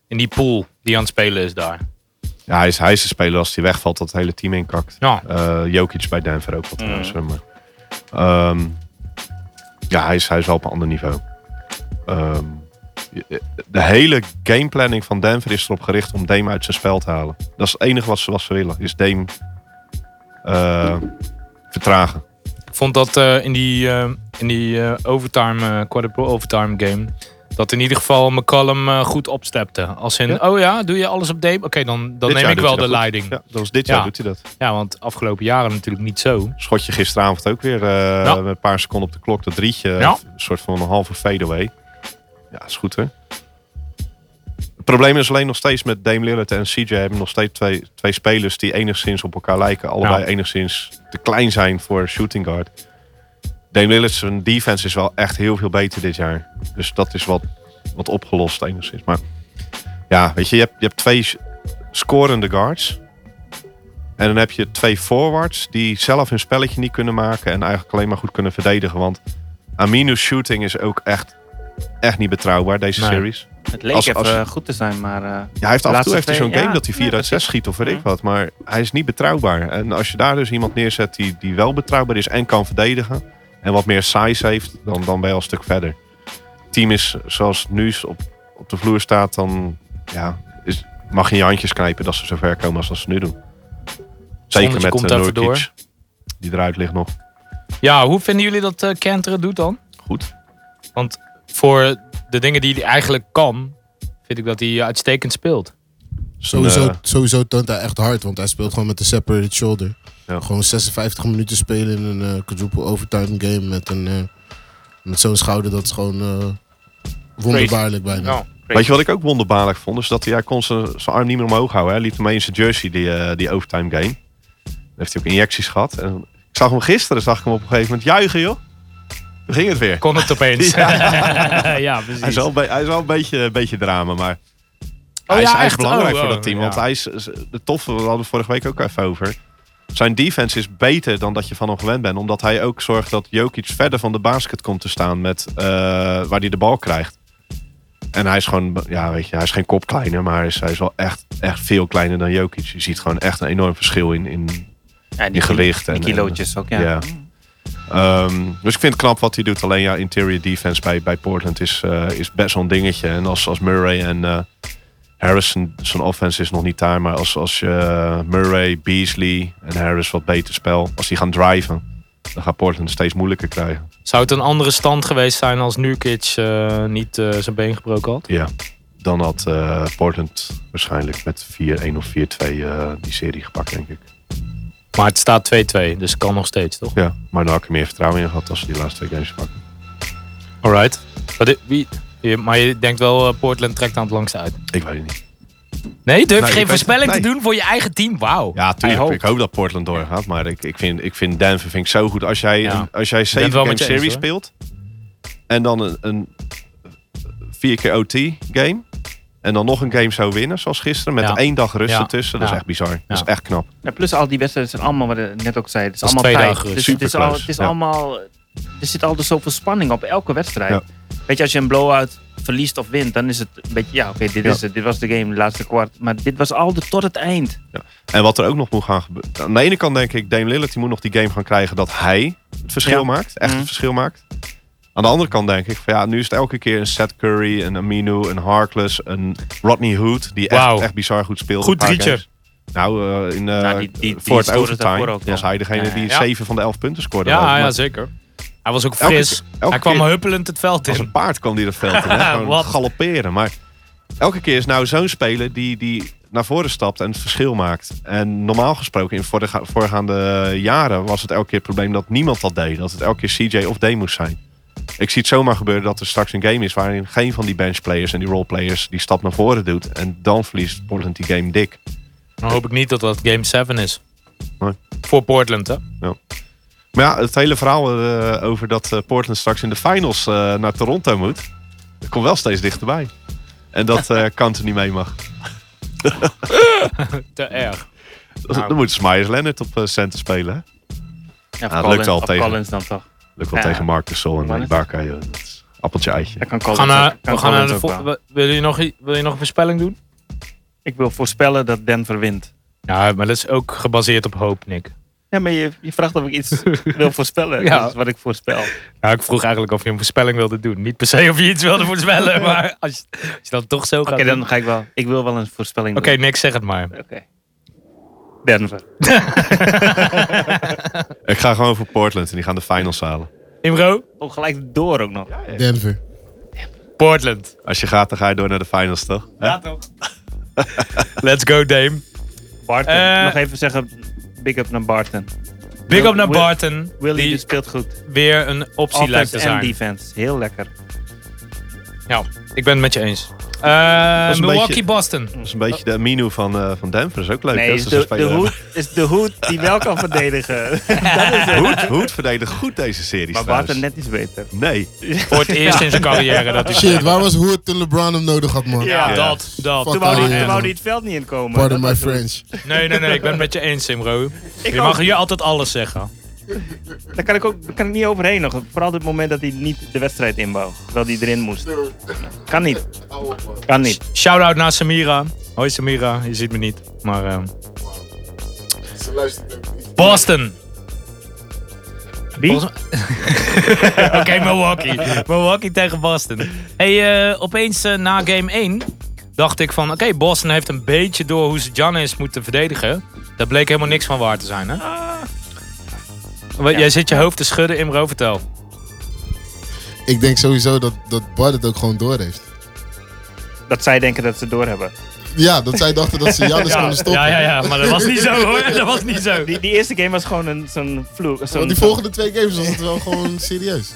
In die pool die aan het spelen is daar.
Ja, hij is, hij is de speler als hij wegvalt dat het hele team inkakt.
Ja. Mm.
Eh, Jokic bij Denver ook wat trouwens. Maar, Ehm, ja, hij is, hij is wel op een ander niveau. Ehm, je- de hele gameplanning van Denver is erop gericht om Dame uit zijn spel te halen. Dat is het enige wat ze, wat ze willen. Is Dame eh, vertragen.
Ik vond dat eh, in die, eh, in die eh, overtime, eh, quadruple overtime game. Dat in ieder geval McCallum eh, goed opstepte. Als in, oh ja, doe je alles op Dame? Oké, dan, dan
Dit
neem
jaar
ik
doet
wel
hij
de
dat goed.
leiding.
Ja, dat was dit
Ja.
jaar doet hij dat.
Ja, want afgelopen jaren natuurlijk niet zo.
Schot je gisteravond ook weer eh,
Ja.
met een paar seconden op de klok. Dat drietje,
Ja.
een soort van een halve fadeaway. Ja, is goed hè. Het probleem is alleen nog steeds met Dame Lillard en CJ hebben nog steeds twee, twee spelers die enigszins op elkaar lijken. Allebei
Ja.
enigszins te klein zijn voor een shooting guard. Dame Lillard zijn defense is wel echt heel veel beter dit jaar. Dus dat is wat, wat opgelost enigszins. Maar ja, weet je, je hebt, je hebt twee s- scorende guards. En dan heb je twee forwards die zelf hun spelletje niet kunnen maken. En eigenlijk alleen maar goed kunnen verdedigen. Want Aminu's shooting is ook echt, echt niet betrouwbaar, deze
Nee.
series.
Het leek
Als-
even
als-
goed te zijn, maar eh,
Ja, hij heeft af en
Laatste
toe heeft
twee-
hij zo'n game
ja,
dat hij 4
ja,
uit 6 schiet of weet ik wat. Maar hij is niet betrouwbaar. En als je daar dus iemand neerzet die, die wel betrouwbaar is en kan verdedigen. En wat meer size heeft, dan, dan ben je al een stuk verder. Het team is zoals het nu op, op de vloer staat, dan ja, is, mag je in je handjes knijpen dat ze zo ver komen als dat ze nu doen. Zeker
Zonnetje
met
komt
eh,
even
Nurkic, die eruit ligt nog.
Ja, hoe vinden jullie dat eh Kenter het doet dan?
Goed.
Want voor de dingen die hij eigenlijk kan, vind ik dat hij uitstekend speelt.
Sowieso,
Nee.
sowieso toont hij echt hard, want hij speelt gewoon met een separated shoulder.
Ja.
Gewoon 56 minuten spelen in een eh quadruple overtime game met, een, eh, met zo'n schouder. Dat is gewoon eh, wonderbaarlijk bijna.
Ja.
Weet je wat ik ook wonderbaarlijk vond? Is dat hij, hij kon zijn, zijn arm niet meer omhoog houden. Hij liet hem mee in zijn jersey, die, eh, die overtime game. Dan heeft hij ook injecties gehad. En ik zag hem gisteren, zag ik hem op een gegeven moment juichen, joh. Dan ging het weer.
Kon het opeens. ja, precies.
Hij is wel, een be- hij is wel een beetje, een beetje drama, maar hij, is,
Oh, ja,
hij is
echt?
belangrijk
Oh,
voor
oh,
dat team.
ja.
Want hij is, is- de toffe, we hadden het vorige week ook even over. Zijn defense is beter dan dat je van hem gewend bent. Omdat hij ook zorgt dat Jokic verder van de basket komt te staan met, eh, waar hij de bal krijgt. En hij is gewoon, ja weet je, hij is geen kop kleiner, maar hij is, hij is wel echt, echt veel kleiner dan Jokic. Je ziet gewoon echt een enorm verschil in, in
ja,
die gewicht en-
en kilootjes ook, ja.
ja. Ehm, dus ik vind het knap wat hij doet. Alleen ja, interior defense bij, bij Portland is, eh, is best wel een dingetje. En als, als Murray en eh, Harrison, zijn offense is nog niet daar. Maar als, als je eh, Murray, Beasley en Harris wat beter spel. Als die gaan driven, dan gaat Portland het steeds moeilijker krijgen.
Zou het een andere stand geweest zijn als Nurkic eh, niet eh, zijn been gebroken had?
Ja. Dan had eh, Portland waarschijnlijk met 4-1 of 4-2 eh, die serie gepakt, denk ik.
Maar het staat 2-2, dus kan nog steeds, toch?
Ja, maar dan had ik er meer vertrouwen in gehad als ze die laatste twee games pakken.
Alright. Maar, dit- wie, je- maar je denkt wel, eh, Portland trekt aan het langste uit.
Ik weet het niet.
Nee, durf
Nee, ik
geen
weet-
voorspelling te
nee.
doen voor je eigen team? Wauw.
Ja, tuurlijk.
Oh, Hij hoopt.
ik hoop dat Portland doorgaat. Maar ik, ik, vind, ik vind Denver vind ik zo goed. Als jij,
Ja.
een- als jij
ben het
zeven
wel
game
met je eens,
series speelt. En dan een, een vier keer OT game. En dan nog een game zou winnen, zoals gisteren. Met
Ja.
één dag rust
Ja.
ertussen. Dat
Ja.
is echt bizar. Dat is echt knap.
Ja, plus al die wedstrijden zijn allemaal, wat ik net ook zei, het is
Dat is
allemaal
twee
tijd.
dagen,
dus het is, al,
superclose,
het is
ja.
allemaal, er zit altijd zoveel spanning op elke wedstrijd.
Ja.
Weet je, als je een blowout verliest of wint, dan is het een beetje, ja oké, dit
Ja.
is het, dit was de game, de laatste kwart. Maar dit was al de, tot het eind.
En wat er ook nog moet gaan gebeuren. Aan de ene kant denk ik, Dame Lillard die moet nog die game gaan krijgen dat hij het verschil
Ja.
maakt. Echt
Mhm.
het verschil maakt. Aan de andere kant denk ik, van ja, nu is het elke keer een Seth Curry, een Aminu, een Harkless, een Rodney Hood. Die echt,
Wauw.
echt bizar goed speelde.
Goed
Een paar
drietje.
games. Nou, eh, in, eh
Nou, die- die- die
voor het
scoorde
overtime
daarvoor ook, ja.
was hij degene
Ja, ja,
die
ja.
7 van de 11 punten scoorde.
Ja,
geloof ik.
ja,
Maar
zeker. Hij was ook
Elke
fris.
keer- elke
hij kwam
keer-
huppelend het veld
Als
in.
een paard kwam die dat veld in. hè. Gewoon
Wat?
galopperen. Maar elke keer is nou zo'n speler die, die naar voren stapt en het verschil maakt. En normaal gesproken in vorige- voorgaande jaren was het elke keer het probleem dat niemand dat deed. Dat het elke keer CJ of D moest zijn. Ik zie het zomaar gebeuren dat er straks een game is waarin geen van die benchplayers en die roleplayers die stap naar voren doet. En dan verliest Portland die game dik.
Dan hoop ik niet dat dat game 7 is.
Nee.
Voor Portland, hè?
Maar ja, het hele verhaal eh, over dat eh, Portland straks in de finals eh, naar Toronto moet, dat komt wel steeds dichterbij. En dat eh Kant er niet mee mag.
Te erg.
Nou,
Dan moeten ze Myers Leonard op eh, center spelen. Hè?
Ja,
het lukt wel
of
tegen.
Collins dan toch.
Lukt wel
Ja.
tegen Marcus Sol en
Leonard.
Ibaka. joh. Dat is- Appeltje eitje.
Dat kan Colin
We gaan naar,
ook- kan
we gaan
Colin
naar de
ook
vo-
wel.
we- wil, je nog, i- wil je nog een voorspelling doen?
Ik wil voorspellen dat Denver wint.
Ja, maar dat is ook gebaseerd op hoop, Nick.
Ja, maar je, je vraagt of ik iets wil voorspellen.
Ja.
Dat is wat ik voorspel.
Nou, ik vroeg eigenlijk of je een voorspelling wilde doen. Niet per se of je iets wilde voorspellen, maar als je, als je dan toch zo gaat
Oké,
doen-
dan ga ik wel. Ik wil wel een voorspelling
Oké, Nick, zeg het maar.
doen. Oké. Denver.
Ik ga gewoon voor Portland en die gaan de finals halen.
Imro?
Oh, gelijk door ook nog.
Denver.
Portland.
Als je gaat, dan ga je door naar de finals, toch? Hè?
toch?
Let's go, Dame.
Barton.
Eh.
nog even zeggen, big up naar Barton.
Big up naar
Wil-
Barton,
Willy
die
die speelt goed.
weer een optie lijkt te
Offense en
zijn.
defense. Heel lekker.
Ja, ik ben het met je eens. Eh,
een beetje-
Milwaukee-Boston.
Dat is een beetje de Aminu van, eh, van Denver. is ook leuk.
Nee,
hè?
is
Dat is een
de, de
speler-
hoed, is de hoed die wel kan verdedigen.
Hoed, hoed verdedigt goed deze serie
maar
trouwens.
Barton net iets beter.
Nee.
Voor het eerst in zijn carrière dat hij...
Shit, waar was Hood toen LeBron hem nodig had, man?
Ja.
Ja, dat, dat.
Fuck
Toen wou
Ah, ja,
die- toen
man.
wou die het veld niet inkomen.
Pardon
Dat
my
was hoe-
French.
Nee, nee, nee, ik ben het met je eens, Imro.
Ik
Je
ook.
mag hier altijd alles zeggen.
Daar kan ik ook daar kan ik niet overheen nog. Vooral op het moment dat hij niet de wedstrijd inbouwt. Terwijl hij erin moest. Kan niet. Kan niet.
Shout-out naar Samira. Hoi Samira, je ziet me niet. Maar eh, Boston.
Wie?
Volgens Oké, Milwaukee. Milwaukee tegen Boston. Hey, eh, opeens eh, na game 1 dacht ik van... Oké, Boston heeft een beetje door hoe ze Giannis moeten verdedigen. Daar bleek helemaal niks van waar te zijn, hè? Wat, Jij zit je hoofd te schudden, Imro, vertel.
Ik denk sowieso dat, dat Bart het ook gewoon door heeft.
Dat zij denken dat ze doorhebben.
Ja, dat zij dachten dat ze Janis konden stoppen.
Ja, ja, ja, maar dat was niet zo, hoor. Dat was niet zo.
Die, die eerste game was gewoon een, zo'n vloek. Zo'n,
Want die
zo'n-
volgende twee games was het wel gewoon serieus.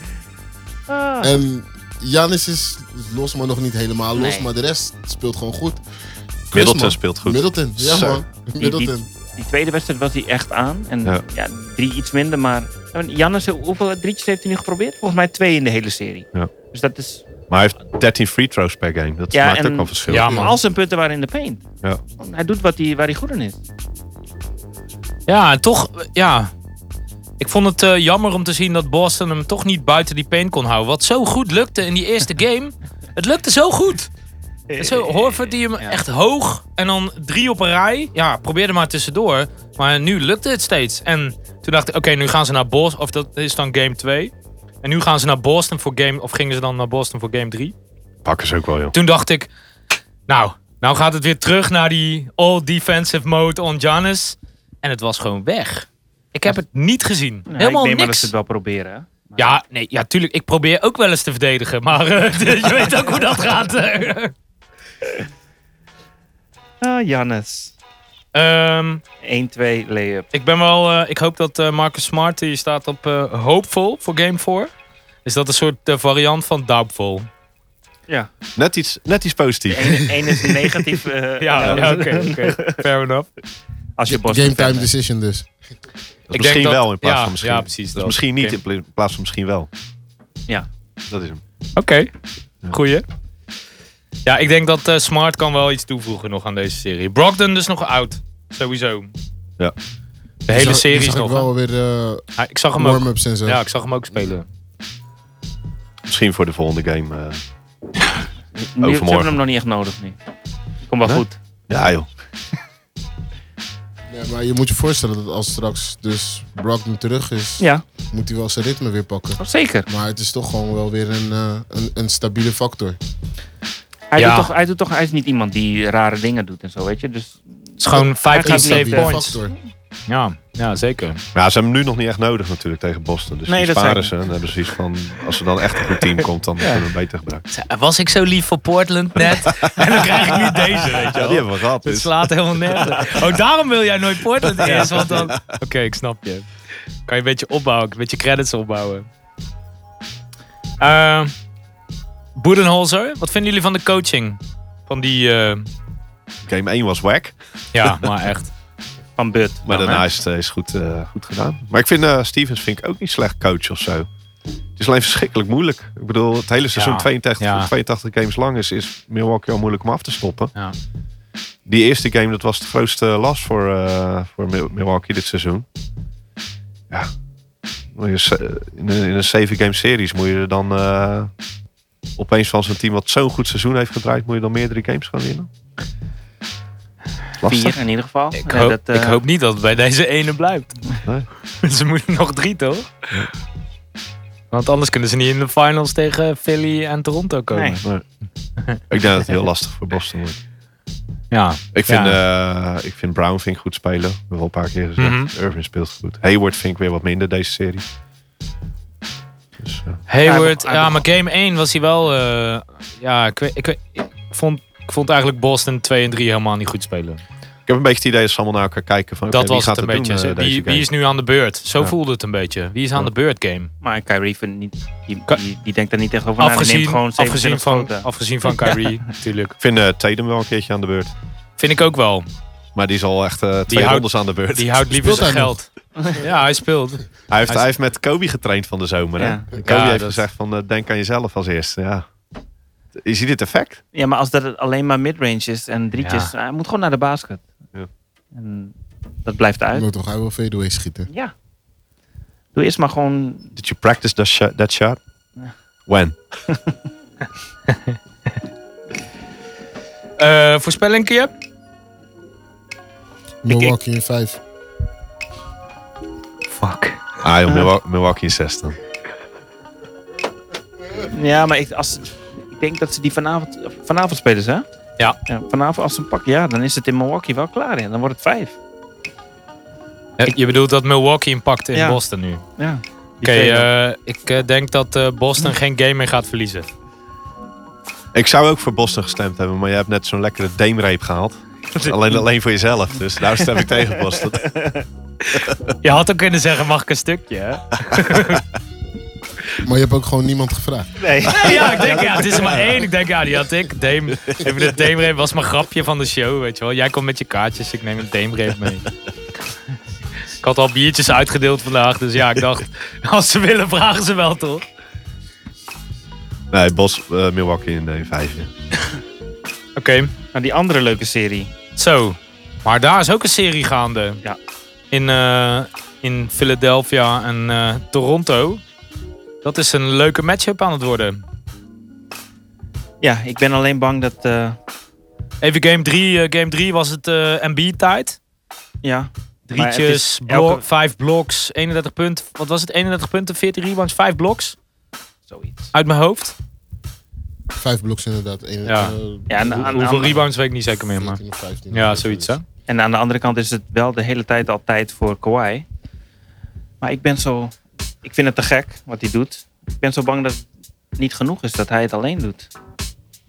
Ah.
En Janis is los, maar nog niet helemaal los.
Nee.
Maar de rest speelt gewoon goed. Chris,
Middleton
man.
speelt goed.
Middleton, ja
Zo.
man. Middleton.
Die tweede wedstrijd was hij echt aan. En
Ja.
ja. drie iets minder. Maar En Jannes, hoeveel drietjes heeft hij nu geprobeerd? Volgens mij twee in de hele serie.
Ja.
Dus dat is...
Maar hij heeft 13 free throws per game. Dat
Ja,
maakt
en-
ook wel verschil.
Ja,
Maar
man.
al zijn punten waren in de paint.
Ja.
Want Hij doet wat hij, waar hij goed in is.
Ja, en toch, ja. Ik vond het eh, jammer om te zien dat Boston hem toch niet buiten die paint kon houden. Wat zo goed lukte in die eerste game. Het lukte zo goed.
Eh,
En Zo, Horford die hem echt hoog en dan drie op een rij. Ja, probeerde maar tussendoor. Maar nu lukte het steeds. En toen dacht ik, oké, nu gaan ze naar Boston. Of dat is dan game 2. En nu gaan ze naar Boston voor game... Of gingen ze dan naar Boston voor game 3.
Pakken ze ook wel, joh.
Toen dacht ik, nou, nou gaat het weer terug naar die all defensive mode on Giannis. En het was gewoon weg. Ik heb het niet gezien.
Nou,
Helemaal
ik neem maar dat
niks.
ze het wel proberen. hè.
Ja, nee, ja, tuurlijk. Ik probeer ook wel eens te verdedigen. Maar eh, je weet ook hoe dat gaat.
Ah, Jannes.
Ehm,
1-2 lay-up.
ik ben wel... eh, ik hoop dat eh, Marcus Smart, die staat op eh hoopvol voor game 4. Is dat een soort eh, variant van doubtful?
Ja.
Net iets, net iets positiefs.
Eén één is negatief. eh,
Ja, ja, oké. oké. Fair enough.
Als je Boston
Game time
fan bent.
decision dus.
Ik
misschien
denk dat-
wel in plaats
ja,
van misschien.
ja, precies
Dat is
dat.
misschien niet
Oké.
in pla- plaats van misschien wel.
Ja.
Dat is hem.
Oké, goeie. Ja, ik denk dat eh, Smart kan wel iets toevoegen nog aan deze serie. Brogdon dus nog oud, sowieso.
Ja.
De hele
Zag-
serie is
Dus zag
nog.
Ik wel eh. weer eh,
hè? Ah, ik zag hem ook.
warm-ups en zo.
Ja, ik zag hem ook spelen.
Misschien voor de volgende game. eh.
Nu ze hebben
Overmorgen.
hem nog niet echt nodig nu. Kom wel
Hè?
goed.
Ja, joh.
Ja, maar je moet je voorstellen dat als straks dus Brogdon terug is,
Ja,
moet hij wel zijn ritme weer pakken.
Oh, zeker.
Maar het is toch gewoon wel weer een, eh, een, een stabiele factor.
Hij,
Ja.
doet toch, hij, doet toch, hij is niet iemand die rare dingen doet en zo, weet je. Dus
Het is gewoon 15
gaat
save
niet, eh,
points. Ja, ja, zeker.
Maar ja, ze hebben hem nu nog niet echt nodig natuurlijk tegen Boston. Dus
Nee,
die
dat
sparen ze.
zijn-
Dan hebben ze iets van... Als er dan echt een goed team komt, dan kunnen we hem beter gebruiken.
Was ik zo lief voor Portland net? en dan krijg ik nu deze, weet je
Ja,
wel.
die hebben we gehad.
Het
Dus.
slaat helemaal nergens. op. Oh, daarom wil jij nooit Portland eerst, want dan... Oké, ik snap je. Kan je een beetje opbouwen, een beetje credits opbouwen. Eh Boedenholzer, wat vinden jullie van de coaching? Van die... eh,
Game 1 was whack.
ja, maar echt.
van Bud.
Maar
dan,
daarna
hè.
is het eh, is goed, eh, goed gedaan. Maar ik vind eh, Stevens vind ik ook niet slecht coach of zo. Het is alleen verschrikkelijk moeilijk. Ik bedoel, het hele seizoen
Ja,
82,
ja.
82 games lang is, is Milwaukee al moeilijk om af te stoppen.
Ja.
Die eerste game, dat was de grootste last voor, eh, voor Mil- Milwaukee dit seizoen. Ja. Moet je se- In een, in een 7 game series moet je er dan eh, opeens van zo'n team wat zo'n goed seizoen heeft gedraaid, moet je dan meerdere games gaan winnen? Lastig.
Vier in ieder geval.
Ik,
Ja,
hoop,
dat, eh,
ik hoop niet dat het bij deze ene blijft.
Nee.
ze moeten nog drie, toch? Want anders kunnen ze niet in de finals tegen Philly en Toronto komen.
Nee.
Maar ik denk dat het heel lastig voor Boston wordt.
Ja.
Ik vind,
Ja.
eh, ik vind Brown vind ik goed spelen. We hebben al een paar keer gezegd.
Mhm.
Irving speelt goed. Hayward vind ik weer wat minder deze serie. Dus, eh,
Hayward,
Ja,
ja,
hij begon-
maar game 1 was hij wel... eh, ja, ik, weet- ik, weet- ik vond, ik vond eigenlijk Boston 2 en 3 helemaal niet goed spelen.
ik heb een beetje het idee dat ze allemaal naar elkaar kijken. Van,
dat
oké,
was
wie
het
gaat
een beetje.
Doen, eh, deze
wie, wie
game?
is nu aan de beurt? Zo
Ja.
voelde het een beetje. Wie is aan
Ja.
de beurt game?
Maar Kyrie vindt niet, die,
Ka-
die, die denkt daar niet echt over na. Die
Afgezien,
neemt gewoon
afgezien,
27
van,
schoten.
afgezien van Kyrie, natuurlijk.
Ik vind eh Tatum wel een keertje aan de beurt.
Vind ik ook wel.
Maar die is al echt eh, twee
houdt-
rondes aan de beurt.
Die houdt liever
Speelt
zijn
hij
geld. Ja, hij speelt.
hij, heeft,
hij-
hij heeft met Kobe getraind van de zomer. Hè?
Ja.
Kobe
Ja,
heeft
dat-
gezegd van eh, denk aan jezelf als eerste. Ja. Is hij dit effect?
Ja, maar als dat het alleen maar midrange is en drietjes. Hij moet gewoon naar de basket.
Ja.
En dat blijft uit.
moet toch hij wel fadeaway schieten.
Ja. Doe eerst maar gewoon...
Did you practice that shot? That shot? When?
Eh voorspelling, Kiep?
Milwaukee in 5.
Fuck.
Ah joh, Milwa- Milwaukee in 6 dan.
Ja, maar ik, als, ik denk dat ze die vanavond... Vanavond spelen ze, hè?
Ja.
Vanavond als ze hem pakken, ja, dan is het in Milwaukee wel klaar. Ja. Dan wordt het vijf.
Je bedoelt dat Milwaukee hem pakt in
Ja.
Boston nu? Oké,
Ja. twee dan.
eh, ik eh, denk dat eh, Boston geen game meer gaat verliezen.
Ik zou ook voor Boston gestemd hebben, maar jij hebt net zo'n lekkere deemreep gehaald. Alleen, alleen voor jezelf, dus daar stem ik tegen Boston.
Je had ook kunnen zeggen, mag ik een stukje? hè?
Maar je hebt ook gewoon niemand gevraagd.
ja, ik denk, ja, het is er maar één. Ik denk, ja, die had ik. Dame, even de Dame-reep was mijn grapje van de show, weet je wel. Jij komt met je kaartjes, ik neem een Dame-reep mee. Ik had al biertjes uitgedeeld vandaag, dus ja, ik dacht, als ze willen, vragen ze wel, toch? Oké,
Nee, Bos, eh, Milwaukee in de 5. ja.
Nou, die andere leuke serie.
zo. Maar daar is ook een serie gaande.
Ja.
In, eh, in Philadelphia en eh, Toronto. Dat is een leuke matchup aan het worden.
Ja, ik ben alleen bang dat... eh,
Even game 3. game 3 was het eh MB-tijd.
ja, Maar het
Drietjes,
is
blok,
elke-
vijf bloks, 31 punten. Wat was het? 31 punten, 14 rebounds, vijf bloks.
zoiets.
Uit mijn hoofd.
Nou,
Vijf bloks inderdaad. Eén,
Ja.
eh,
Ja, en aan-
Hoeveel
aan-
rebounds weet ik niet zeker meer, maar...
14 of 15.
Ja, zoiets hè.
En aan de andere kant is het wel de hele tijd al tijd voor Kawhi. Maar ik ben zo... Ik vind het te gek wat hij doet. Ik ben zo bang dat het niet genoeg is dat hij het alleen doet.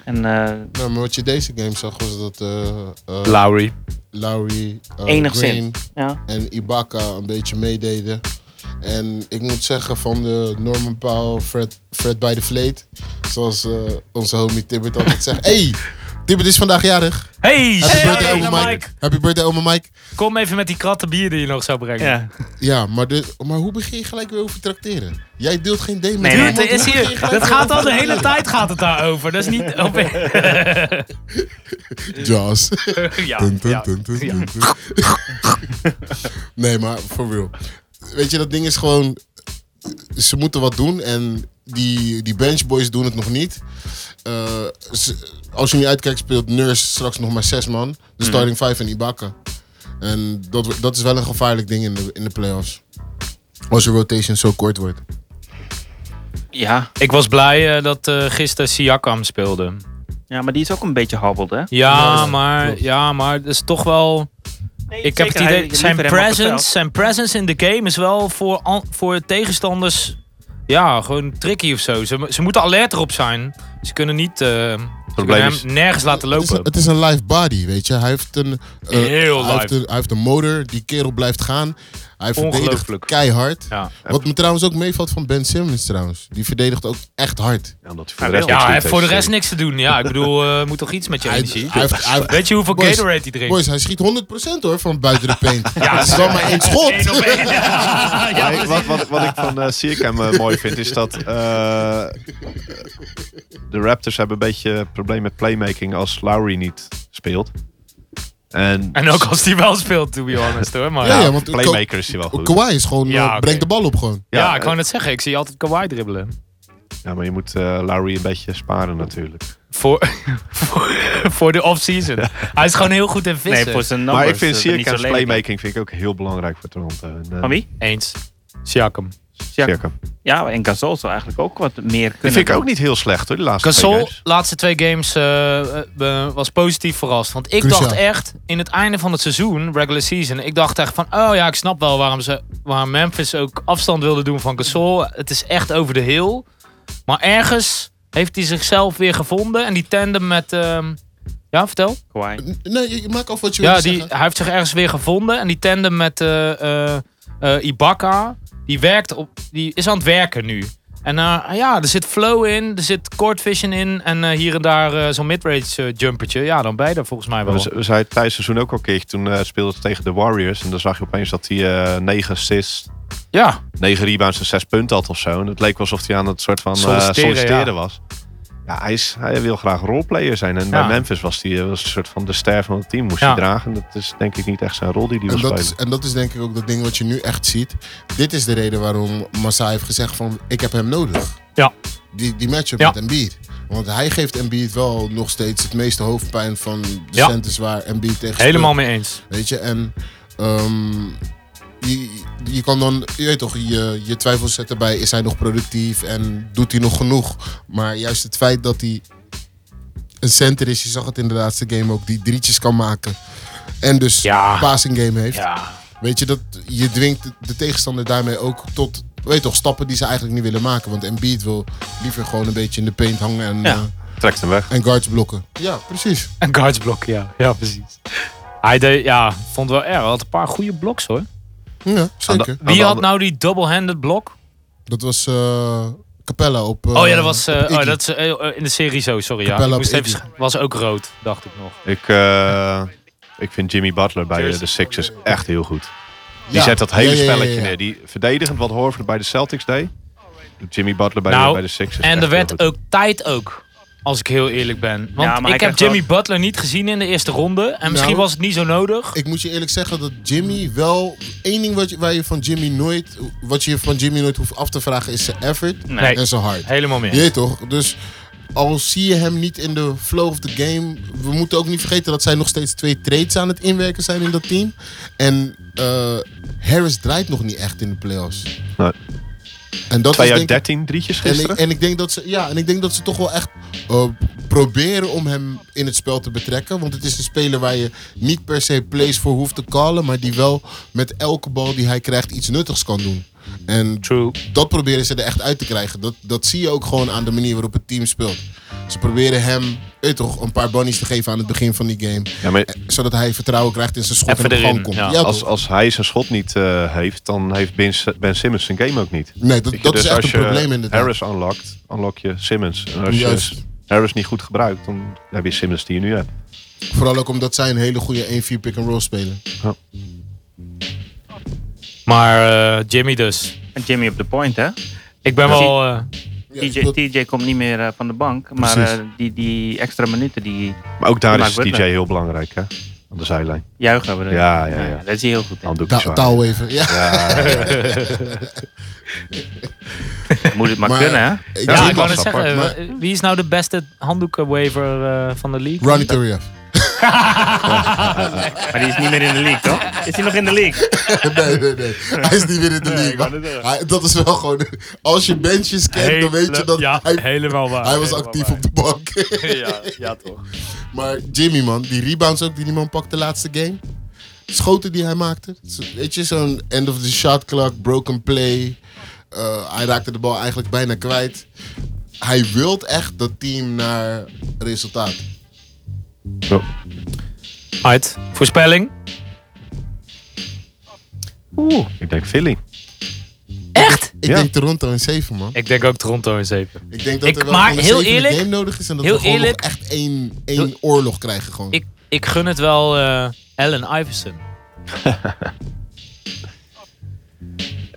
En eh,
Nou, maar wat je deze game zag was dat eh eh,
Lowry.
Lowry, eh,
Enigszins.
Green
ja,
en Ibaka een beetje meededen. En ik moet zeggen van de Norman Powell, Fred, Fred bij de Vleet. Zoals eh, onze homie Tibbert altijd zegt. Hey, Tibbert is vandaag jarig. Happy
Hey, shout-out
birthday,
naar
oma Mike. Happy birthday, oma Mike.
Kom even met die kratten bier die je nog zou brengen.
ja.
Ja, maar, de, maar hoe begin je gelijk weer over trakteren? Jij deelt geen D met
Nee,
iemand, hoe
Dude, er is
begin je
hier,
gelijk
dat
weer
gaat
over
al de hele
trakteren?
tijd gaat het daarover. Dat is niet... oh,
Jaws.
ja,
Dun, dun,
ja.
dun, dun, dun, dun. nee, maar for real. Weet je, dat ding is gewoon... Ze moeten wat doen en die, die benchboys doen het nog niet. Eh, ze- als je niet uitkijkt speelt Nurse straks nog maar zes man.
Mhm.
De starting five en Ibaka. En dat, dat is wel een gevaarlijk ding in de, in de playoffs. Als je rotation zo kort wordt.
ja.
Ik was blij eh, dat eh, gisteren Siakam speelde.
Ja, maar die is ook een beetje habbeld, hè?
Ja,
Klopt.
maar, ja, maar het is toch wel... Ik heb het idee, zijn presence, zijn presence in de game is wel voor, an- voor tegenstanders ja, gewoon tricky of zo. Ze, ze moeten alert erop zijn. Ze kunnen niet eh, ze kunnen
probleem
hem
is-
nergens laten
Het is,
lopen.
een, het is een live body, weet je. Hij heeft een, eh,
Heel
hij heeft
live.
een, hij heeft een motor, die kerel blijft gaan. Hij verdedigt
Ongelooflijk.
keihard.
Ja,
Wat me trouwens ook meevalt van Ben Simmons trouwens. Die verdedigt ook echt hard.
Ja, omdat hij voor de rest
ja
niks
hij
doet
heeft voor de
deze
rest
serie.
niks te doen. Ja, ik bedoel, eh, moet toch iets met je
Hij,
energie?
hij heeft- hij heeft-
Weet je hoeveel
Boys,
Gatorade hij drinkt?
boys, hij schiet 100% hoor van buiten de paint. Het is wel maar één schot.
Eén op één. Ja, ja,
Nee, wat, wat, wat ik van eh Siakam eh, mooi vind is dat eh, de Raptors hebben een beetje een probleem met playmaking als Lowry niet speelt. En,
En ook als hij wel speelt, to be honest hoor. Maar,
Ja,
ja,
ja,
ja.
want
playmaker is hij wel goed.
Kawhi is gewoon,
Ja,
eh,
oké.
brengt de bal op gewoon.
Ja,
ik wou net zeggen, ik zie altijd Kawhi dribbelen.
Ja, maar je moet eh Lowry een beetje sparen natuurlijk.
Voor, voor, voor de off-season. Hij is gewoon heel goed in vissen.
Nee, voor zijn numbers.
maar ik vind
eh, ben ik
Sierka's
zo lelijk.
playmaking vind ik ook heel belangrijk voor Toronto. En, eh,
Van wie?
Eens. Siakam.
Siakam.
Siakam.
Ja, en Gasol zou eigenlijk ook wat meer kunnen.
Die vind ik
doen.
ook niet heel slecht hoor, die laatste twee
Gasol,
games.
laatste twee games, eh, eh, was positief verrast. Want ik
Cruciaal.
dacht echt, in het einde van het seizoen, regular season, ik dacht echt van, oh ja, ik snap wel waarom, ze, waarom Memphis ook afstand wilde doen van Gasol. Het is echt over de hill. Maar ergens heeft hij zichzelf weer gevonden. En die tandem met, ehm, ja, vertel.
Kawhi.
N- Nee, je, je maakt af wat je
Ja,
wilt
die,
zeggen.
hij heeft zich ergens weer gevonden. En die tandem met eh, eh, eh, Ibaka, die, werkt op, die is aan het werken nu. En eh, ja, er zit flow in, er zit court vision in. En eh, hier en daar eh, zo'n midrange eh, jumpertje. Ja, dan beide volgens mij wel.
We, we zeiden het tijdens het seizoen ook al een keertje. Toen eh speelde ze tegen de Warriors. En dan zag je opeens dat hij eh 9 assists,
Ja,
9 rebounds en 6 punten had of zo. En het leek wel alsof hij aan het soort van eh,
Solliciteren,
solliciteren,
ja.
was. Ja, hij, is, hij wil graag roleplayer zijn. En
Ja.
bij Memphis was hij eh, was een soort van de ster van het team. Moest
Ja.
hij dragen. Dat is denk ik niet echt zijn rol die hij wil
En dat,
spelen.
is, en dat is denk ik ook dat ding wat je nu echt ziet. Dit is de reden waarom Massa heeft gezegd van ik heb hem nodig.
Ja.
Die, die matchup
Ja.
met Embiid. Want hij geeft Embiid wel nog steeds het meeste hoofdpijn van de
Ja.
centers waar Embiid tegen speelt.
helemaal mee eens.
Weet je, en ehm, je, je kan dan, je weet toch, je, je twijfels zetten bij is hij nog productief en doet hij nog genoeg. Maar juist het feit dat hij een center is, je zag het in de laatste game ook, die drietjes kan maken. En dus
Ja.
een passing game heeft.
Ja,
Weet je, dat, je dwingt de tegenstander daarmee ook tot, weet je toch, stappen die ze eigenlijk niet willen maken. Want Embiid wil liever gewoon een beetje in de paint hangen en,
Ja.
eh,
Trekt hem weg.
en guards blokken. Ja, precies.
een guards blok, ja. Ja, precies. Hij deed, ja, vond wel erg. Hij had een paar goede bloks hoor.
Ja, zeker.
Aan de
Wie had
andere-
nou die double-handed blok?
Dat was eh, Capella op. eh,
Oh ja, dat was eh,
op Iggy.
oh, dat is, eh, eh, in de serie zo, sorry. Ja.
Capella
Ik
op
moest even,
Iggy.
sch- was ook rood, dacht ik nog.
Ik,
nou-
eh, ik vind Jimmy Butler bij eh, de Sixers echt heel goed. Die
Ja.
zet dat hele
Ja, ja, ja,
spelletje
ja, ja.
neer. Die verdedigend wat Horford bij de Celtics deed. Doet Jimmy Butler bij,
Nou,
de, bij de Sixers.
En
echt
er
heel
werd
goed.
ook tijd ook. Als ik heel eerlijk ben.
maar
Want
hij
ik heb
krijgt
Jimmy
wel-
Butler niet gezien in de eerste ronde. En misschien
Nou.
was het niet zo nodig.
Ik moet je eerlijk zeggen dat Jimmy wel. één ding wat je, waar je van Jimmy nooit. wat je van Jimmy nooit hoeft af te vragen is zijn effort
Nee.
en zijn hard.
Helemaal
Je
meer.
weet toch? Dus al zie je hem niet in de flow of the game. We moeten ook niet vergeten dat zij nog steeds twee trades aan het inwerken zijn in dat team. En eh, Harris draait nog niet echt in de playoffs.
Nee.
En dat is
Nou, Twee uit
denk ik-
13 drietjes
En ik,
gisteren.
en ik denk dat ze, ja, en ik denk dat ze toch wel echt eh, proberen om hem in het spel te betrekken. Want het is een speler waar je niet per se plays voor hoeft te callen. Maar die wel met elke bal die hij krijgt iets nuttigs kan doen. En
True.
dat proberen ze er echt uit te krijgen. Dat, dat zie je ook gewoon aan de manier waarop het team speelt. Ze proberen hem weet je toch, een paar bunnies te geven aan het begin van die game.
Ja, maar
Eh, Zodat hij vertrouwen krijgt in zijn schot
Even
en op
erin,
gang komt.
ja.
Ja,
als,
toch?
als hij zijn schot niet eh, heeft, dan heeft Ben, ben Simmons zijn game ook niet.
nee, dat,
Weet je,
dat
dus
is echt
als
een
je
probleem inderdaad.
Harris unlockt, unlock je Simmons. En als
Juist.
je Harris niet goed gebruikt, dan heb je Simmons die je nu hebt.
Vooral ook omdat zij een hele goede 1-4 pick-and-roll spelen.
Maar eh, Jimmy dus.
En Jimmy op de point, hè?
Ik ben
Ja.
wel... eh,
Ja,
TJ,
speelt-
TJ komt niet meer eh, van de bank. Maar
Precies.
eh, die, die extra minuten, die
Maar ook daar
Maar
is
Butler.
DJ heel belangrijk, hè? Aan de zijlijn.
juichen we. er.
Ja, ja, ja.
dat is hij heel goed. in.
Handdoekjes
Ta-
zwaaien.
taalweven. Ja.
Moet het maar,
Maar-
kunnen, hè?
Ik
ja,
zie wel
ik wou net
eens
zeggen.
apart,
eh, Wie is nou de beste handdoekenwaver eh, van de league?
maar Ronnie Turiaf.
Maar die is niet meer in de league, toch? Is hij nog in de league?
Nee, nee, nee. Hij is niet weer in de league. maar hij- dat is wel gewoon... Als je benches kent, dan weet je dat
ja,
hij,
helemaal waar.
hij was
Helemaal
actief
waar.
op de bank.
Ja, ja, toch.
maar Jimmy, man. Die rebounds ook die die man pakte de laatste game. Schoten die hij maakte. Zo- Weet je, zo'n end of the shot clock, broken play. Eh, hij raakte de bal eigenlijk bijna kwijt. Hij wilt echt dat team naar resultaat.
Oh.
Uit. Voorspelling.
Oeh, ik denk Philly.
Ik
Ja.
denk Toronto in 7, man.
Ik denk ook Toronto in zeven.
Ik denk dat
Ik-
er wel
maar
gewoon een
heel
zevende
eerlijk-
game nodig is en dat
heel
we gewoon nog
eerlijk-
echt één, één oorlog krijgen gewoon.
Ik, ik gun het wel eh Allen Iverson.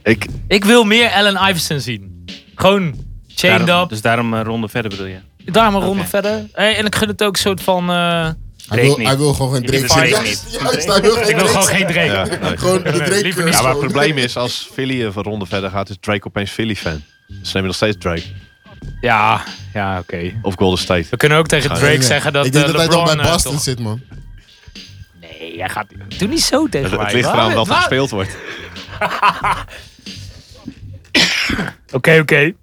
Ik,
Ik wil meer Allen Iverson zien. Gewoon chained
Daarom-
up.
dus daarom een ronde verder bedoel je.
Daar maar een ronde
Oké.
verder. Hey, en ik gun het ook een soort van... eh,
hij,
Drake
wil,
niet.
hij wil gewoon geen
Ik wil
Drake
Drake
zijn.
niet.
Juist, juist, hij wil geen
ik wil
Drake
gewoon
zijn.
geen Drake.
ja, nee.
Gewoon de
Nee,
Drake
liever niet.
curse
Ja, maar het
gewoon.
probleem is, als Philly een ronde verder gaat, is Drake opeens Philly-fan. Dus dan neem je nog steeds Drake.
Ja, ja oké.
Of Golden State.
We kunnen ook tegen
Ja,
Drake
Nee, nee.
zeggen dat
Ik denk
eh,
dat hij
LeBron
toch bij
eh,
Boston
toch-
zit, man.
Nee, hij gaat... Doe niet zo tegen
Het,
mij.
het ligt
Waar-
eraan wat er
waar-
gespeeld wordt.
Oké, oké.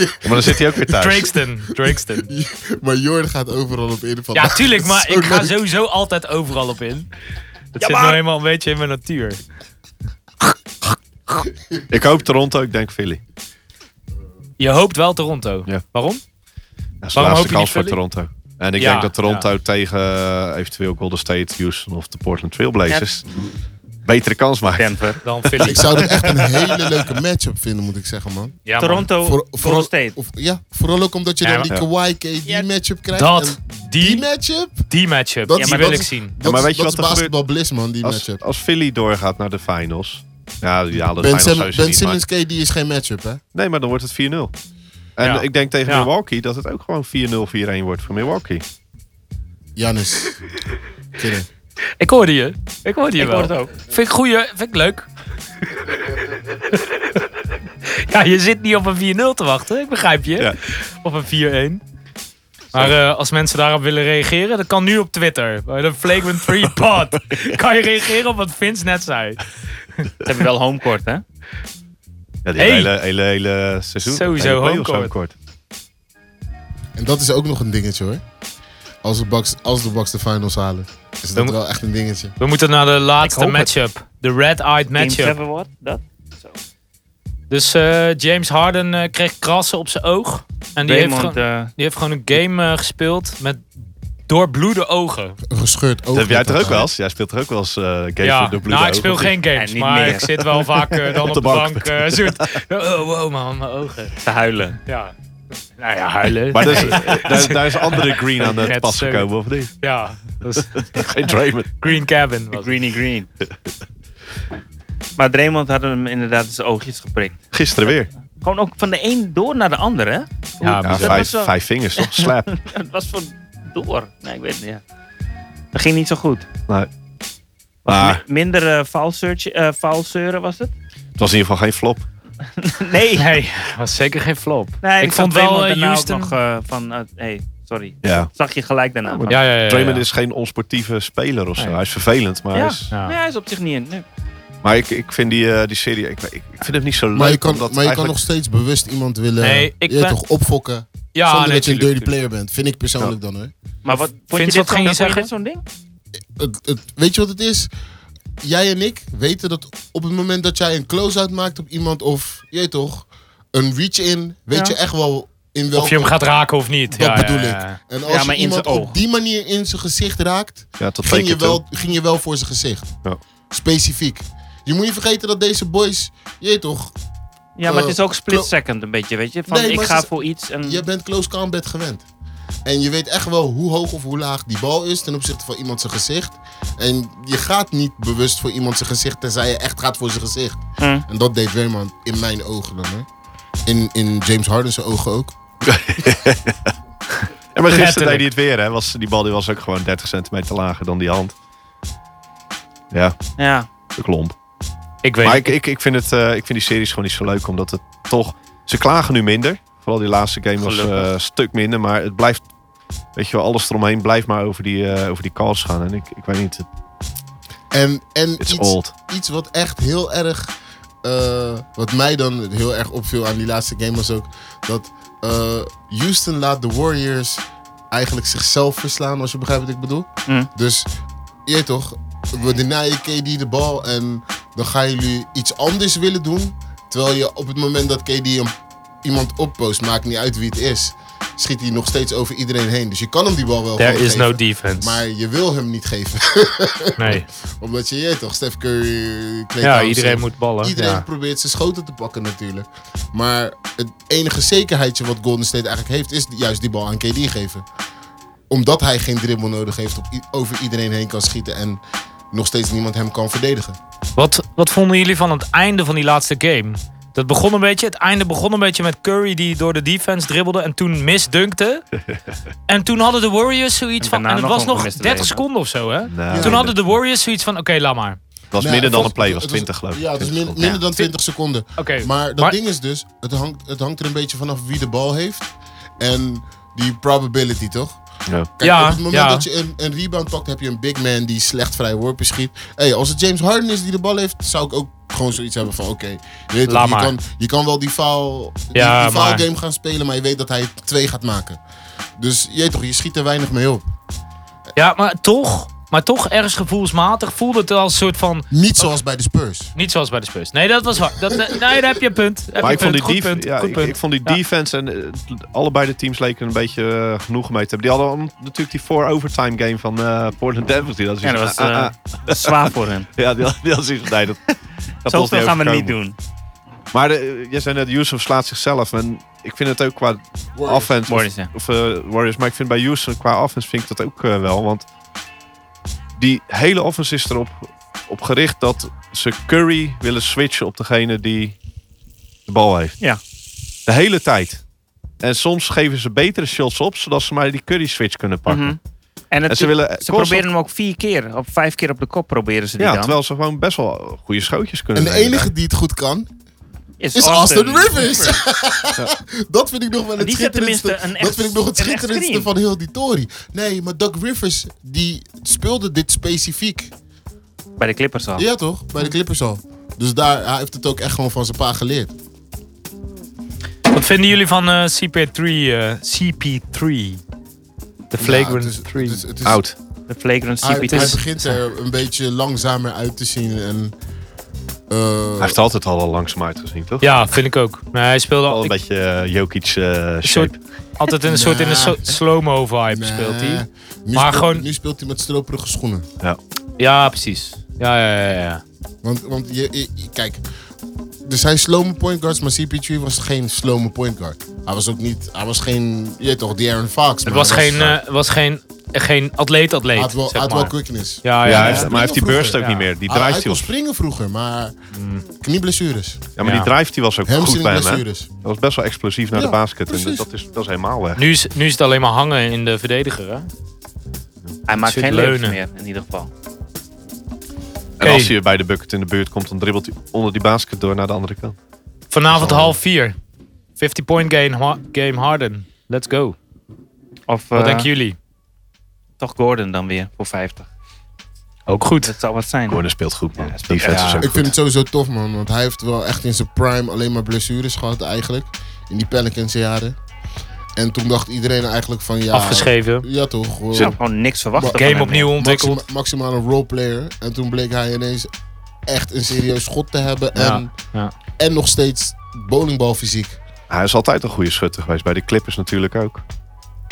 Maar dan zit hij ook weer thuis.
Drakeston. Drakeston.
Maar Jordan gaat overal op in.
Ja, tuurlijk, maar ik ga
leuk.
sowieso altijd overal op in. Dat zit
maar-
nou helemaal een beetje in mijn natuur.
Ik hoop Toronto, ik denk Philly.
Je hoopt wel Toronto.
Ja.
Waarom?
Dat is de
Waarom hoop
laatste
je
kans
niet
voor
Philly?
Toronto. En ik
Ja,
denk dat Toronto tegen eh, eventueel Golden State, Houston of de Portland Trailblazers betere kans maakt.
Denver.
Dan Philly.
Ik zou dat echt een hele leuke matchup vinden, moet ik zeggen, man.
Ja, man.
Toronto, Golden State.
of- ja, vooral ook omdat je
Ja,
dan die
ja.
Kawhi KD
Ja,
matchup krijgt.
Dat,
En die
die,
matchup?
die matchup,
Dat
die
is-
wil
dat
ik
is-
zien.
Dat,
maar
is-
weet je
dat
wat
is
er gebeurt?
basketbal bliss, man, die
Als,
matchup.
als Philly doorgaat naar de finals. Ja, die halen de
Ben,
finals
Sim-
sowieso
Ben
niet,
Simmons KD is geen matchup, hè?
maar- nee, maar dan wordt het 4-0. En
Ja.
ik denk tegen
Ja.
Milwaukee dat het ook gewoon 4-0, 4-1 wordt voor Milwaukee.
Janis. Kidding.
Ik hoorde je. Ik hoorde je wel.
hoorde het ook.
Vind ik goeie, vind ik leuk. ja, je zit niet op een 4-0 te wachten, ik begrijp je.
Ja.
Of een 4-1. Maar eh, als mensen daarop willen reageren, dat kan nu op Twitter. Bij de Flagrant 3 Pod. kan je reageren op wat Vince net zei.
Ze hebben wel homecourt, hè?
Ja, die
Hey.
hele, hele, hele seizoen.
Sowieso
hele playoffs
homecourt.
homecourt.
En dat is ook nog een dingetje, hoor. Als de Bucks, als de, Bucks de finals halen, is dat
moet-
wel echt een dingetje.
We moeten naar de laatste
hoop het.
matchup. De red-eyed
Game
matchup.
seven wordt dat? Zo.
Dus eh, James Harden eh, kreeg krassen op zijn oog. En die heeft,
Raymond,
gewoon,
eh,
die heeft gewoon een game eh, gespeeld met doorbloede ogen.
Een gescheurd oog.
Dat heb jij toch ook wel
wel?
eens? Jij speelt toch ook wel eens eh Games
ja,
of the Blue
nou, ik
Dog,
speel
of niet?
geen games,
Ja, niet
maar
meer.
ik zit wel vaak eh, dan op, de bank. eh, soort, oh, wow man, mijn ogen.
te huilen.
Ja. Nou ja, huilen.
Maar dus, daar, daar is andere Green aan het
Red
pas
Stone.
gekomen, of niet?
Ja, dat is
Geen Draymond.
Green Cabin. was het.
Greeny green. maar Draymond had hem inderdaad in zijn oogjes geprikt.
Gisteren weer.
Gewoon ook van de een door naar de andere. hè?
Ja,
Ja,
bizar.
dat
vijf,
was wel-
vijf vingers, toch? Slap.
Het was van door. Nee, ik weet het niet. ja. Dat ging niet zo goed.
Nee.
Was
Ah.
Maar-
mi- minder eh, foul search- eh, foul zeuren was het?
Het was in ieder geval geen flop.
Nee.
Nee, was zeker geen flop.
nee
ik vond
zag
wel,
Draymond
eh,
daarna ook
Houston-
nog eh, van... eh, hey, sorry.
Ja.
Zag je gelijk daarna. van-
Oh, Ja, ja, ja. ja.
Draymond is geen onsportieve speler of zo.
Nee.
Hij is vervelend, maar, hij
Ja.
is,
Ja.
Nee, hij is op zich niet in. Nee.
maar ik, ik vind die, eh, die serie, ik, ik ik vind hem niet zo leuk.
Maar je kan, maar
omdat
je kan nog
eigenlijk-
steeds bewust iemand willen
Nee,
je
ik ben-
toch opfokken.
Ja,
zonder
nee,
dat je een
tuurlijk,
dirty
tuurlijk.
player bent. Vind ik persoonlijk dan hoor.
Maar wat, vond
Vince,
je dit
wat
zo'n-
ging je
vond dit
zeggen?
zo'n ding?
Het, het, weet je wat het is? Jij en ik weten dat op het moment dat jij een close-out maakt op iemand of, je weet toch, een reach-in, weet
Ja.
je echt wel in welke...
Of je hem gaat raken of niet.
Dat
ja,
bedoel
ja, ja.
ik. En
Ja,
als
maar
je
in
iemand
zijn
op
oog.
die manier in zijn gezicht raakt,
Ja, tot twee
ging je,
keer
wel,
wel...
ging je wel voor zijn gezicht.
Ja.
Specifiek. Je moet niet vergeten dat deze boys, je weet toch,
Ja, maar het is ook split
Klo-
second een beetje, weet je? Van
Nee,
ik
maar
ga
het is-
voor iets en...
je bent close combat gewend. En je weet echt wel hoe hoog of hoe laag die bal is ten opzichte van iemand zijn gezicht. En je gaat niet bewust voor iemand zijn gezicht, tenzij je echt gaat voor zijn gezicht.
Hm.
En dat deed Draymond in mijn ogen dan. Hè? In, in James Harden's ogen ook.
Ja, maar gisteren
Letterlijk.
deed hij het weer, hè. Was, die bal die was ook gewoon 30 centimeter lager dan die hand. Ja,
Ja.
de klomp.
Ik weet
Maar
het.
ik, ik, ik, vind het, eh, ik vind die series gewoon niet zo leuk, omdat het toch... Ze klagen nu minder. Vooral die laatste game was eh,
Gelukkig.
een stuk minder, maar het blijft... Weet je wel, alles eromheen blijft maar over die, eh, over die calls gaan. En ik, ik weet niet, het-
En, en
it's
iets,
old.
iets wat echt heel erg. eh, wat mij dan heel erg opviel aan die laatste game was ook. Dat eh, Houston laat de Warriors eigenlijk zichzelf verslaan, als je begrijpt wat ik bedoel.
Mm.
Dus je weet toch, we denyen KD de bal en dan gaan jullie iets anders willen doen. Terwijl je op het moment dat KD een, iemand oppost, maakt niet uit wie het is, schiet hij nog steeds over iedereen heen. Dus je kan hem die bal wel
There
gewoon
is no
geven,
defense.
Maar je wil hem niet geven.
nee.
Omdat je, je weet toch, Steph Curry, Klay
Ja,
Thompson,
iedereen moet ballen.
Iedereen
Ja.
probeert zijn schoten te pakken natuurlijk. Maar het enige zekerheidje wat Golden State eigenlijk heeft... is juist die bal aan KD geven. Omdat hij geen dribbel nodig heeft... Op i- over iedereen heen kan schieten... en nog steeds niemand hem kan verdedigen.
Wat, wat vonden jullie van het einde van die laatste game? Dat begon een beetje, het einde begon een beetje met Curry die door de defense dribbelde en toen misdunkte. en toen hadden de Warriors zoiets
En
van, en
daarna
het
nog
was
een
nog
gemiste
30
lane, hè?
seconden of zo hè.
Nou,
Toen hadden de Warriors zoiets van, oké laat maar.
was
Nee,
minder
het
dan
was-
een play, was
het was-
20 geloof ik.
Ja, het is
20
min-
seconden.
minder dan 20 seconden.
Oké,
Maar dat
maar-
ding is dus, het hangt, het hangt er een beetje vanaf wie de bal heeft. En die probability, toch?
Ja.
Kijk,
Ja,
op het moment
ja.
dat je een, een rebound pakt, heb je een big man die slecht vrij worpen schiet. Hey, als het James Harden is die de bal heeft, zou ik ook gewoon zoiets hebben van, oké, je weet
Laat
toch, je,
maar.
kan, je kan wel die foul, die,
Ja,
die foul
maar-
game gaan spelen, maar je weet dat hij twee gaat maken. Dus je, weet toch, je schiet er weinig mee op.
Ja, maar toch, maar toch ergens gevoelsmatig voelde het als een soort van...
Niet zoals bij de Spurs.
Niet zoals bij de Spurs. Nee, dat was waar. Dat, eh, nee, daar heb je een punt. Heb
Maar
je
ik vond,
een
die
punt. Goed
def-
punt.
ja,
Goed
ik,
punt.
ik vond die
Ja.
defense en eh, allebei de teams leken een beetje eh, genoeg mee te hebben. Die hadden al natuurlijk die four overtime game van eh, Portland Devils. Die dat
Ja, dat was eh, zwaar voor hen.
ah, ja, die, die hadden zoiets van, nee, dat, dat was
Zoveel
niet
gaan we niet
overkomen.
doen.
Maar de, jij zei net, Yusuf slaat zichzelf. En ik vind het ook qua
Warriors.
offense...
Warriors, ja.
of, eh, Warriors, maar ik vind bij Yusuf qua offense vind ik dat ook eh, wel. Want die hele offense is erop op gericht dat ze Curry willen switchen op degene die de bal heeft.
Ja.
De hele tijd. En soms geven ze betere shots op, zodat ze maar die Curry switch kunnen pakken.
Mhm. En, het,
En ze
ze,
willen constant-
proberen hem ook vier keer, op vijf keer op de kop proberen ze die
Ja,
dan.
terwijl ze gewoon best wel goede schootjes
En
kunnen
de
nemen
enige die het goed kan, is
Austin.
Austin Rivers. dat vind ik nog wel het
Die zet tenminste
schitterendste.
een echt-
dat vind ik nog het
een echt
schitterendste
screen.
van heel die tory. Nee, maar Doug Rivers die speelde dit specifiek.
Bij de Clippers al.
Ja toch? Bij de Clippers al. Dus daar hij heeft het ook echt gewoon van zijn pa geleerd.
Wat vinden jullie van eh, CP3? eh, CP3. The Flagrant
Ja, dus- het is-
3.
het is- het is-
Oud.
De flagrant
Hij, hij
CP2.
begint er een beetje langzamer uit te zien en. eh,
Hij heeft altijd al, al langzaam uitgezien, toch?
Ja, vind ik ook. Nee, hij speelde
Al een
al, ik-
beetje eh, Jokic eh, shape.
een soort, altijd in een soort in een so-
Nee.
slow-mo vibe speelt
nee.
hij.
Nu
Maar
speelt-
gewoon-
Nu speelt hij met stroperige schoenen.
Ja, precies. Ja, ja, ja. ja.
Want, want je, je- je- kijk, er zijn slome point guards, maar CP3 was geen slome point guard. Hij was ook niet, hij was geen, je weet toch, De'Aaron Fox.
Het was geen, eh, was geen, geen
Hij had
atleet-atleet,
wel, hij
zeg
had wel
maar.
quickness.
Ja,
Ja,
ja,
hij
ja.
heeft- maar hij heeft die
vroeger.
burst ook
Ja.
niet meer. Die
Hij, hij
drijft hij
kon
was.
springen vroeger, maar
Mm.
knieblessures.
Ja, maar die
Ja.
drijft die was ook goed bij hem. hè? Dat
Hamstringblessures.
was best wel explosief naar
Ja,
de basket. En
precies.
dat is, dat is helemaal weg.
Nu is, nu is het alleen maar hangen in de verdediger, hè?
Hij maakt
Zit
geen leugens
leunen.
meer, in ieder geval.
En als hij bij de bucket in de buurt komt, dan dribbelt hij onder die basket door naar de andere kant.
Vanavond half vier. 50-point game, Ha- game Harden. Let's go.
Of
Wat
eh,
denken jullie?
toch Gordon dan weer, voor 50.
Ook goed.
Dat zou wat zijn.
Gordon speelt goed, man.
Ja, hij
die
speelt-
vet
ja.
is ook
Ik
goed.
vind het sowieso tof, man. Want hij heeft wel echt in zijn prime alleen maar blessures gehad, eigenlijk. In die Pelicans jaren. En toen dacht iedereen eigenlijk van, ja...
Afgeschreven.
Ja, toch.
Ik
eh,
zou gewoon niks verwachten van
Game
hem,
opnieuw
joh.
ontwikkeld.
maxima- maximale roleplayer. En toen bleek hij ineens echt een serieus schot te hebben. En,
ja.
en nog steeds bowlingbalfysiek.
Hij is altijd een goede schutter geweest. Bij de Clippers natuurlijk ook.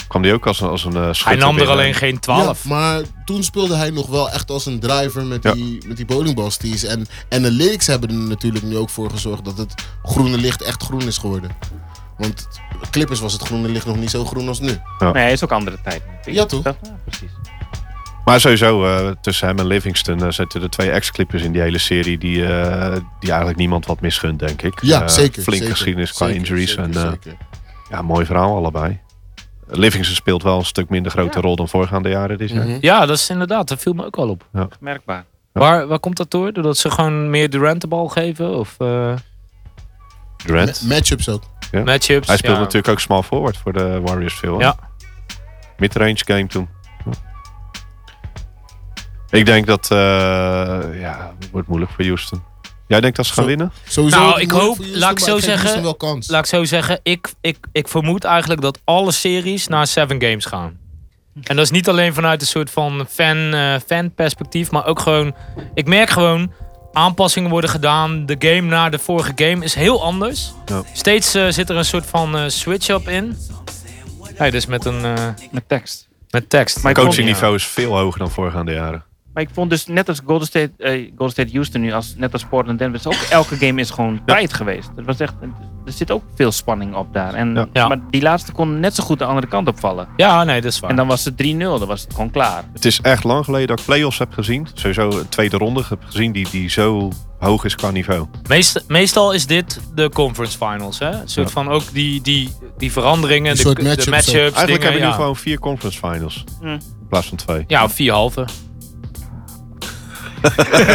Kwam die ook als een, als een eh, schutter
Hij nam er
binnen.
alleen geen 12.
Ja, maar toen speelde hij nog wel echt als een driver met
Ja.
die, met die bowlingbalsties. En, en de lyrics hebben er natuurlijk nu ook voor gezorgd dat het groene licht echt groen is geworden. Want Clippers was het groene licht nog niet zo groen als nu.
Eh,
Nee, hij is ook andere tijd.
Ja, toch?
Ja, precies.
Maar sowieso, eh, tussen hem en Livingston eh, zitten er twee ex-clippers in die hele serie die, eh, die eigenlijk niemand wat misgunt, denk ik.
Ja,
Eh,
zeker.
Flinke
zeker,
geschiedenis qua
zeker,
injuries.
zeker,
en eh,
zeker.
ja, mooi verhaal allebei. Livingston speelt wel een stuk minder grote rol dan voorgaande jaren dit jaar.
Mhm.
Ja, dat is inderdaad. Dat viel me ook al op.
Merkbaar.
Waar, waar komt dat door? Doordat ze gewoon meer Durant de bal geven? Of eh,
Durant.
Ma- Matchups ook.
matchups?
Hij speelt
Ja.
natuurlijk ook small forward voor de Warriors veel. hè?
Ja.
Midrange game toen. Ik denk dat... eh, ja, het wordt moeilijk voor Houston. Jij denkt dat ze gaan
Zo-
winnen?
Sowieso
Nou,
het
ik
moeilijk
hoop-
voor Houston,
laat ik
maar
zo
geef
zeggen,
Houston wel kans.
Laat ik zo zeggen. Ik, ik, ik vermoed eigenlijk dat alle series naar seven games gaan. En dat is niet alleen vanuit een soort van fan, eh, fan-perspectief. Maar ook gewoon... Ik merk gewoon... Aanpassingen worden gedaan. De game na de vorige game is heel anders.
Ja.
Steeds eh, zit er een soort van eh, switch-up in. Hey, dus met een... eh,
Met tekst.
met tekst.
Maar ik vond-
Coachingniveau is veel hoger dan voorgaande jaren.
Maar ik vond dus net als Golden State, eh, Golden State Houston nu, als, net als Portland Denver, is ook elke game is gewoon tijd geweest. Het was echt, er zit ook veel spanning op daar. En,
Ja.
Ja.
Maar die laatste kon net zo goed de andere kant opvallen.
Ja, nee, dat is waar.
En dan was het 3-0, dan was het gewoon klaar.
Het is echt lang geleden dat ik playoffs heb gezien. Sowieso een tweede ronde heb gezien die, die zo hoog is qua niveau.
Meest- meestal is dit de conference finals. Hè? Een soort
Ja.
van ook die, die, die veranderingen,
Een
de,
soort
de
matchups
matchups.
ook.
Eigenlijk
dingen,
hebben we
ja.
nu gewoon vier conference finals.
Mm.
In plaats van twee.
Ja, vier halve.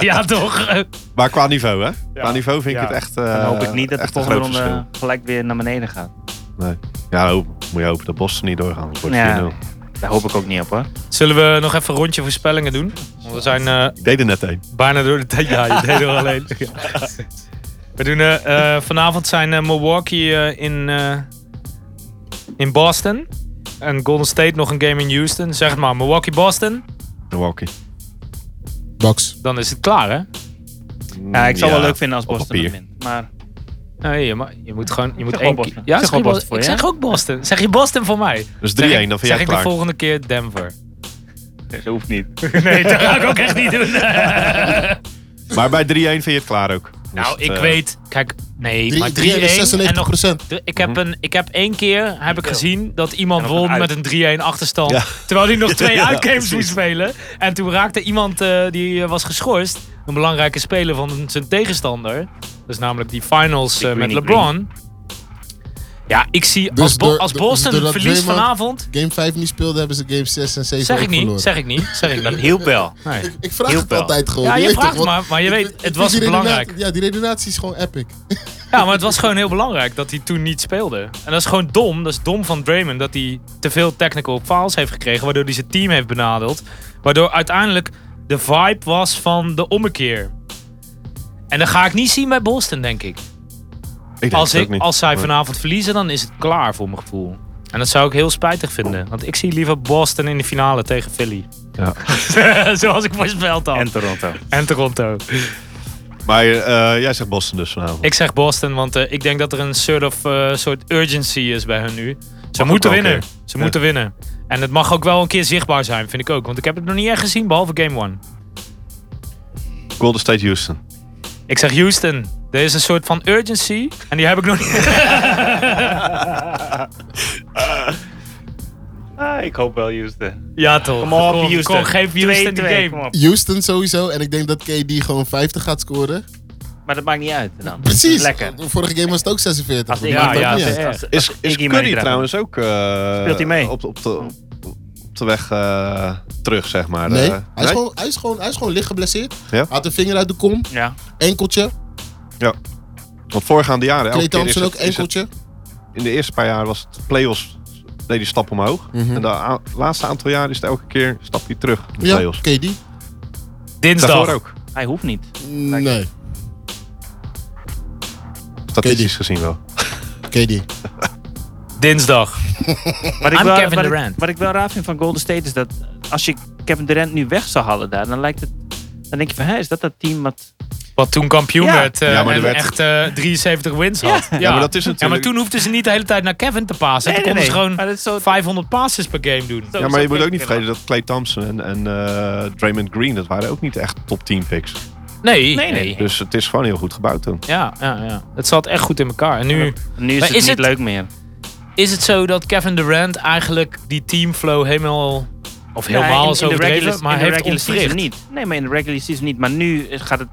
ja, toch?
Maar qua niveau, hè? Qua
Ja.
niveau vind ik
Ja.
het echt. eh,
Dan hoop ik niet dat de
echt een groot
volgende
verschil.
ronde gelijk weer naar beneden gaat.
Nee. Ja, hoop, moet je hopen dat Boston niet doorgaan. Het wordt
Ja.
4-0.
Daar hoop ik ook niet op hoor.
Zullen we nog even een rondje voorspellingen doen? Want we zijn eh,
Ik deed er net één.
bijna door de tijd. Ja, je deed er alleen. We doen eh, eh, vanavond zijn eh, Milwaukee eh, in, eh, in Boston. En Golden State nog een game in Houston. Zeg het maar, Milwaukee-Boston.
Milwaukee.
Box.
Dan is het klaar, hè?
Ja, ik zou wel leuk vinden als
op
Boston
papier.
hem wint. Maar
Nee, maar je moet gewoon... Je moet
zeg
één keer-
wel Boston.
Ja,
Ik zeg
zeg
wel
je Bos-
Boston voor
Ik
je, hè?
zeg ook Boston. Zeg je Boston voor mij?
Dus 3-1,
Zeg ik-
dan vind jij
Zeg ik de
klaar.
volgende keer Denver.
dat hoeft niet.
Nee, dat ga ik ook echt niet doen.
Maar bij 3-1 vind je het klaar ook. Dus
nou,
het,
ik
eh,
weet... Kijk, nee, maar 3-1 en
96
nog...
procent.
Ik
Mhm.
heb, een, ik heb één keer heb ik gezien dat iemand
En nog een
won met
uit.
een 3-1 achterstand.
Ja.
Terwijl hij nog twee
Ja,
uitgames
precies.
moest spelen. En toen raakte iemand eh, die eh, was geschorst. Een belangrijke speler van zijn tegenstander. Dus namelijk die finals
Die
eh, met
Greeny
LeBron. Ja, ik zie
Dus
als, Bo-
door-
als
door-
Boston
doordat
verliest
Draymond-
vanavond.
Game 5 niet speelden, hebben ze game 6 en 7
Zeg ik
ook
niet,
verloren.
zeg ik niet, zeg ik niet.
Hielp wel.
Nee.
ik, ik vraag
Heel
het
wel.
altijd gewoon.
Ja,
je
je
weet
vraagt
toch, want
maar, maar je
ik-
weet,
ik
het
vind
was
die redenatie-
belangrijk.
Ja, die redenatie is gewoon epic.
Ja, maar het was gewoon heel belangrijk dat hij toen niet speelde. En dat is gewoon dom. Dat is dom van Draymond dat hij te veel technical fouls heeft gekregen. Waardoor hij zijn team heeft benadeeld. Waardoor uiteindelijk de vibe was van de ommekeer. En dat ga ik niet zien bij Boston, denk ik.
ik denk
Als,
het ook
ik,
niet.
als zij
Maar-
vanavond verliezen, dan is het klaar voor mijn gevoel. En dat zou ik heel spijtig vinden. Want ik zie liever Boston in de finale tegen Philly. Zoals ik voorspeld had.
En
En,
Toronto.
Toronto.
Maar eh, jij zegt Boston dus vanavond.
Ik zeg Boston, want eh, ik denk dat er een soort, of, eh, soort urgency is bij hun nu. Ze
ook
moeten
wel een
winnen.
keer.
Ze
Ja.
moeten winnen. En het mag ook wel een keer zichtbaar zijn, vind ik ook. Want ik heb het nog niet echt gezien, behalve Game One.
Golden State Houston.
Ik zeg Houston. Er is een soort van urgency. En die heb ik nog niet.
Ah, ik hoop wel Houston.
Ja, toch.
Kom op,
Kom,
Houston.
kom, geef Houston de
2-2,
game.
kom op.
Houston sowieso. En ik denk dat KD gewoon 50 gaat scoren.
Maar dat maakt niet uit dan.
Precies.
Lekker.
Vorige game was het ook 46.
Als
dat
Iggy-
maakt ook
ja,
niet uit.
ja.
als- als
Is, is
Iggy meedraait.
Curry trouwens ook... eh,
Speelt hij mee?
Op, op, de, op de weg eh, terug, zeg maar.
Nee,
Eh,
hij is, Gewoon, hij, is gewoon, hij is gewoon licht geblesseerd.
Ja.
Had een vinger uit de kom,
Ja.
enkeltje.
Want voorgaande jaren...
Klay
elke keer is
Thompson ook,
het- is het-
enkeltje.
in de eerste paar jaar was het play-offs... deed die stap omhoog. En de a- laatste aantal jaren is het elke keer... stap hij terug in de
Ja,
play-offs.
KD.
Dinsdag.
Daarvoor ook.
Hij hoeft niet.
Nee,
Statistisch gezien wel.
KD.
Dinsdag.
Wat ik,
I'm
wel,
Kevin
wat, ik,
Durant.
wat ik wel raar vind van Golden State is dat als je Kevin Durant nu weg zou halen daar, dan lijkt het. Dan denk je van, hé, is dat dat team wat...
Wat toen kampioen
Ja.
werd. eh,
Ja, maar er
en
werd-
echt eh, 73 wins had. Ja.
maar dat is natuurlijk-
Ja, maar toen hoefden ze niet de hele tijd naar Kevin te passen.
Nee,
toen
nee,
konden
nee.
ze gewoon
Maar dat is zo-
500 passes per game doen.
zo-
Ja, maar
zo
je moet ook niet
kunnen.
vergeten dat Clay Thompson en, en eh, Draymond Green... dat waren ook niet echt top 10 picks.
Nee,
Nee, nee.
Dus het is gewoon heel goed gebouwd toen.
Ja, ja, ja, het zat echt goed in elkaar. En nu
Nu is
Maar
het
is
niet
het-
leuk meer.
is het zo dat Kevin Durant eigenlijk die teamflow helemaal, of
Ja,
helemaal
Nou, in-
is
in de
overdreven,
regular-
maar
in de
heeft
regular
ontwricht.
season niet. Nee, maar in de regular season niet. Maar nu is- gaat het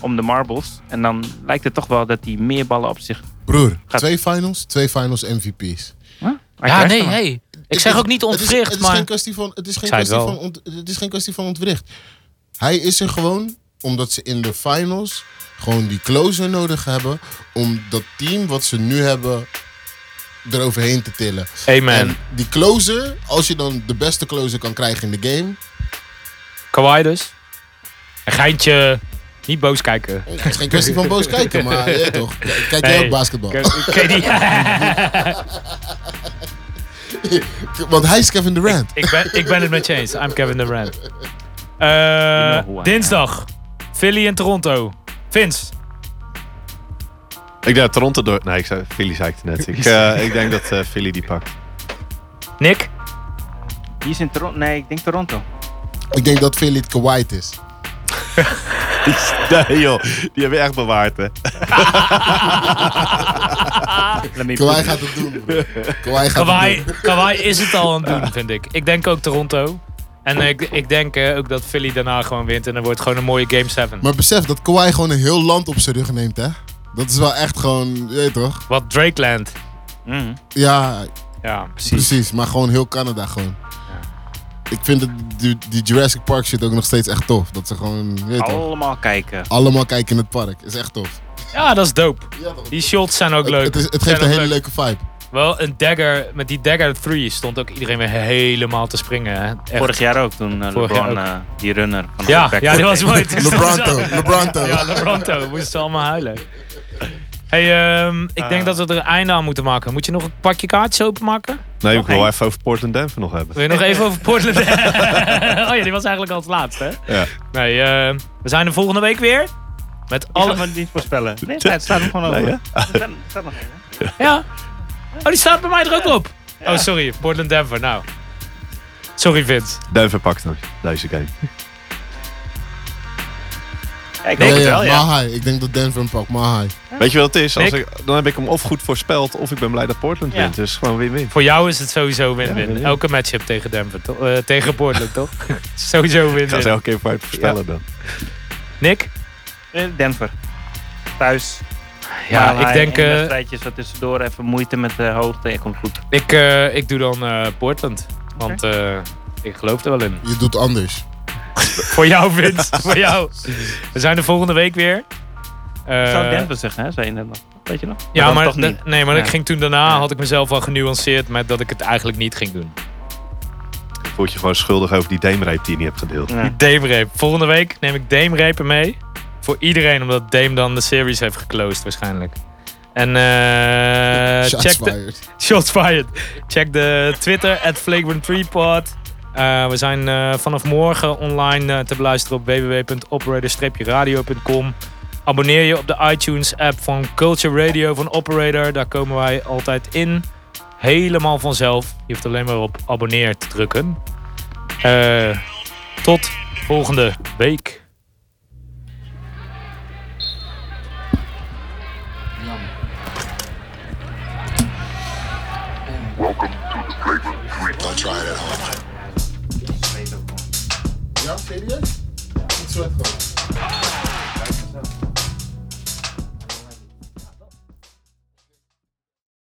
om de marbles. En dan lijkt het toch wel dat hij meer ballen op zich...
Broer,
Gaat-
twee finals, twee finals MVP's.
Huh?
Ja,
Hij
nee,
krijgt hem.
hey. Ik zeg ook niet
het is,
ontwricht,
het is
maar
geen kwestie van, het is geen
Ik zei het
kwestie
wel.
van, ont- het is geen kwestie van ontwricht. Hij is er gewoon omdat ze in de finals gewoon die closer nodig hebben om dat team wat ze nu hebben eroverheen te tillen. En
amen.
die closer, als je dan de beste closer kan krijgen in de game,
Kawhi dus. Een geintje, niet boos kijken.
het is geen kwestie van boos kijken, maar ja, toch? Kijk jij
Nee.
ook
Oh.
basketbal?
Ken je die?
Want hij is Kevin Durant.
ik, ben, ik ben het met je eens. I'm Kevin Durant. Eh,
know who I am.
dinsdag. Philly en Toronto. Vince.
Ik denk dat Toronto door... Nee, ik zei, Philly zei ik het net. Ik, eh, ik denk dat eh, Philly die pakt.
Nick.
Die is in Toronto. Nee, ik denk Toronto.
Ik denk dat Philly het Kawhi is.
Nee joh, die hebben we echt bewaard hè.
Let me
Kawhi
put-
gaat het doen. bro. Kawhi gaat het
Kawhi,
doen.
Kawhi is het al aan het doen, vind ik. Ik denk ook Toronto. En ik, ik denk eh, ook dat Philly daarna gewoon wint. En dan wordt gewoon een mooie Game 7.
Maar besef dat Kawhi gewoon een heel land op zijn rug neemt, hè? Dat is wel echt gewoon, je weet toch?
Wat Drakeland.
Mm.
Ja,
Ja, precies.
precies. Maar gewoon heel Canada gewoon. ik vind het, die, die Jurassic Park shit ook nog steeds echt tof. Dat ze gewoon, je weet
Oh.
toch,
Allemaal kijken.
allemaal kijken in het park. Is echt tof.
Ja, dat is dope.
Ja, toch.
Die shots zijn ook leuk.
Het, is, het
Zijn
geeft een
ook
hele
leuk.
leuke vibe.
Wel, een dagger, met die dagger 3 stond ook iedereen weer helemaal te springen. Hè? Echt.
Vorig jaar ook, toen eh,
Vorig
LeBron,
jaar
eh, die runner. Van de
Ja,
back-
ja, die was mooi. Toen stonden ze-
LeBronto, LeBronto.
Ja, LeBronto. Moesten ze allemaal huilen. Hey, ehm, ik
Ah.
denk dat we er een einde aan moeten maken. Moet je nog een pakje kaartjes openmaken?
Nee, ik wil even over Portland Denver nog hebben.
Wil je nog even over Portland? oh ja, die was eigenlijk al het laatste. Hè?
Ja.
Nee, ehm, we zijn er volgende week weer. Met
Die
alle...
gaan we niet voorspellen. Nee, het staat er gewoon over.
Nee, hè?
Het staat- het staat nog even.
Ja. Oh, die staat bij mij er ook op. Oh, sorry. Portland Denver, nou. Sorry, Vince.
Denver pakt hem, deze game.
Ja, ik denk het wel, ja.
Mahai. Ik denk dat Denver hem pakt. Mahai.
Weet je wat het is? Als
Nick?
ik, dan heb ik hem of goed voorspeld, of ik ben blij dat Portland
Ja.
wint. Dus gewoon win-win.
Voor jou is het sowieso win-win.
win-win.
Elke matchup tegen Denver, toch? Eh, tegen Portland, toch? sowieso
Ik ga ze
win-win.
elke keer voor het voorspellen dan.
Nick?
Eh, Denver. Thuis.
Ja,
Maar
ik
hij-
denk...
in
eh,
wedstrijdjes wat tussendoor even moeite met de hoogte. Ik komt goed.
ik, eh, ik doe dan eh, Portland. Want eh, ik geloof er wel in.
Je doet anders.
Voor jou, Vince. voor jou. We zijn er volgende week weer.
Ik
Eh,
zou Denver zeggen, hè, zei je net nog. Weet je nog?
ja,
dan
maar,
toch
da-
niet.
nee, maar ik
Ja.
ging toen daarna had ik mezelf al genuanceerd met dat ik het eigenlijk niet ging doen.
Voelt je gewoon schuldig over die deemreep die je niet hebt gedeeld.
Ja.
Die Dame-reep. Volgende week neem ik Dame-repen mee. Voor iedereen, omdat Dame dan de series heeft geclosed waarschijnlijk. En eh
Shots
check de,
fired.
shots fired. Check de Twitter, at flagrant3pod. Eh, we zijn eh, vanaf morgen online eh, te beluisteren op www.operator-radio.com. Abonneer je op de iTunes-app van Culture Radio van Operator. Daar komen wij altijd in. Helemaal vanzelf. Je hoeft alleen maar op abonneer te drukken. Eh, tot volgende week.
Welcome to the Flagrant 3
Don't try it at home.
Ja, serieus? Niet zo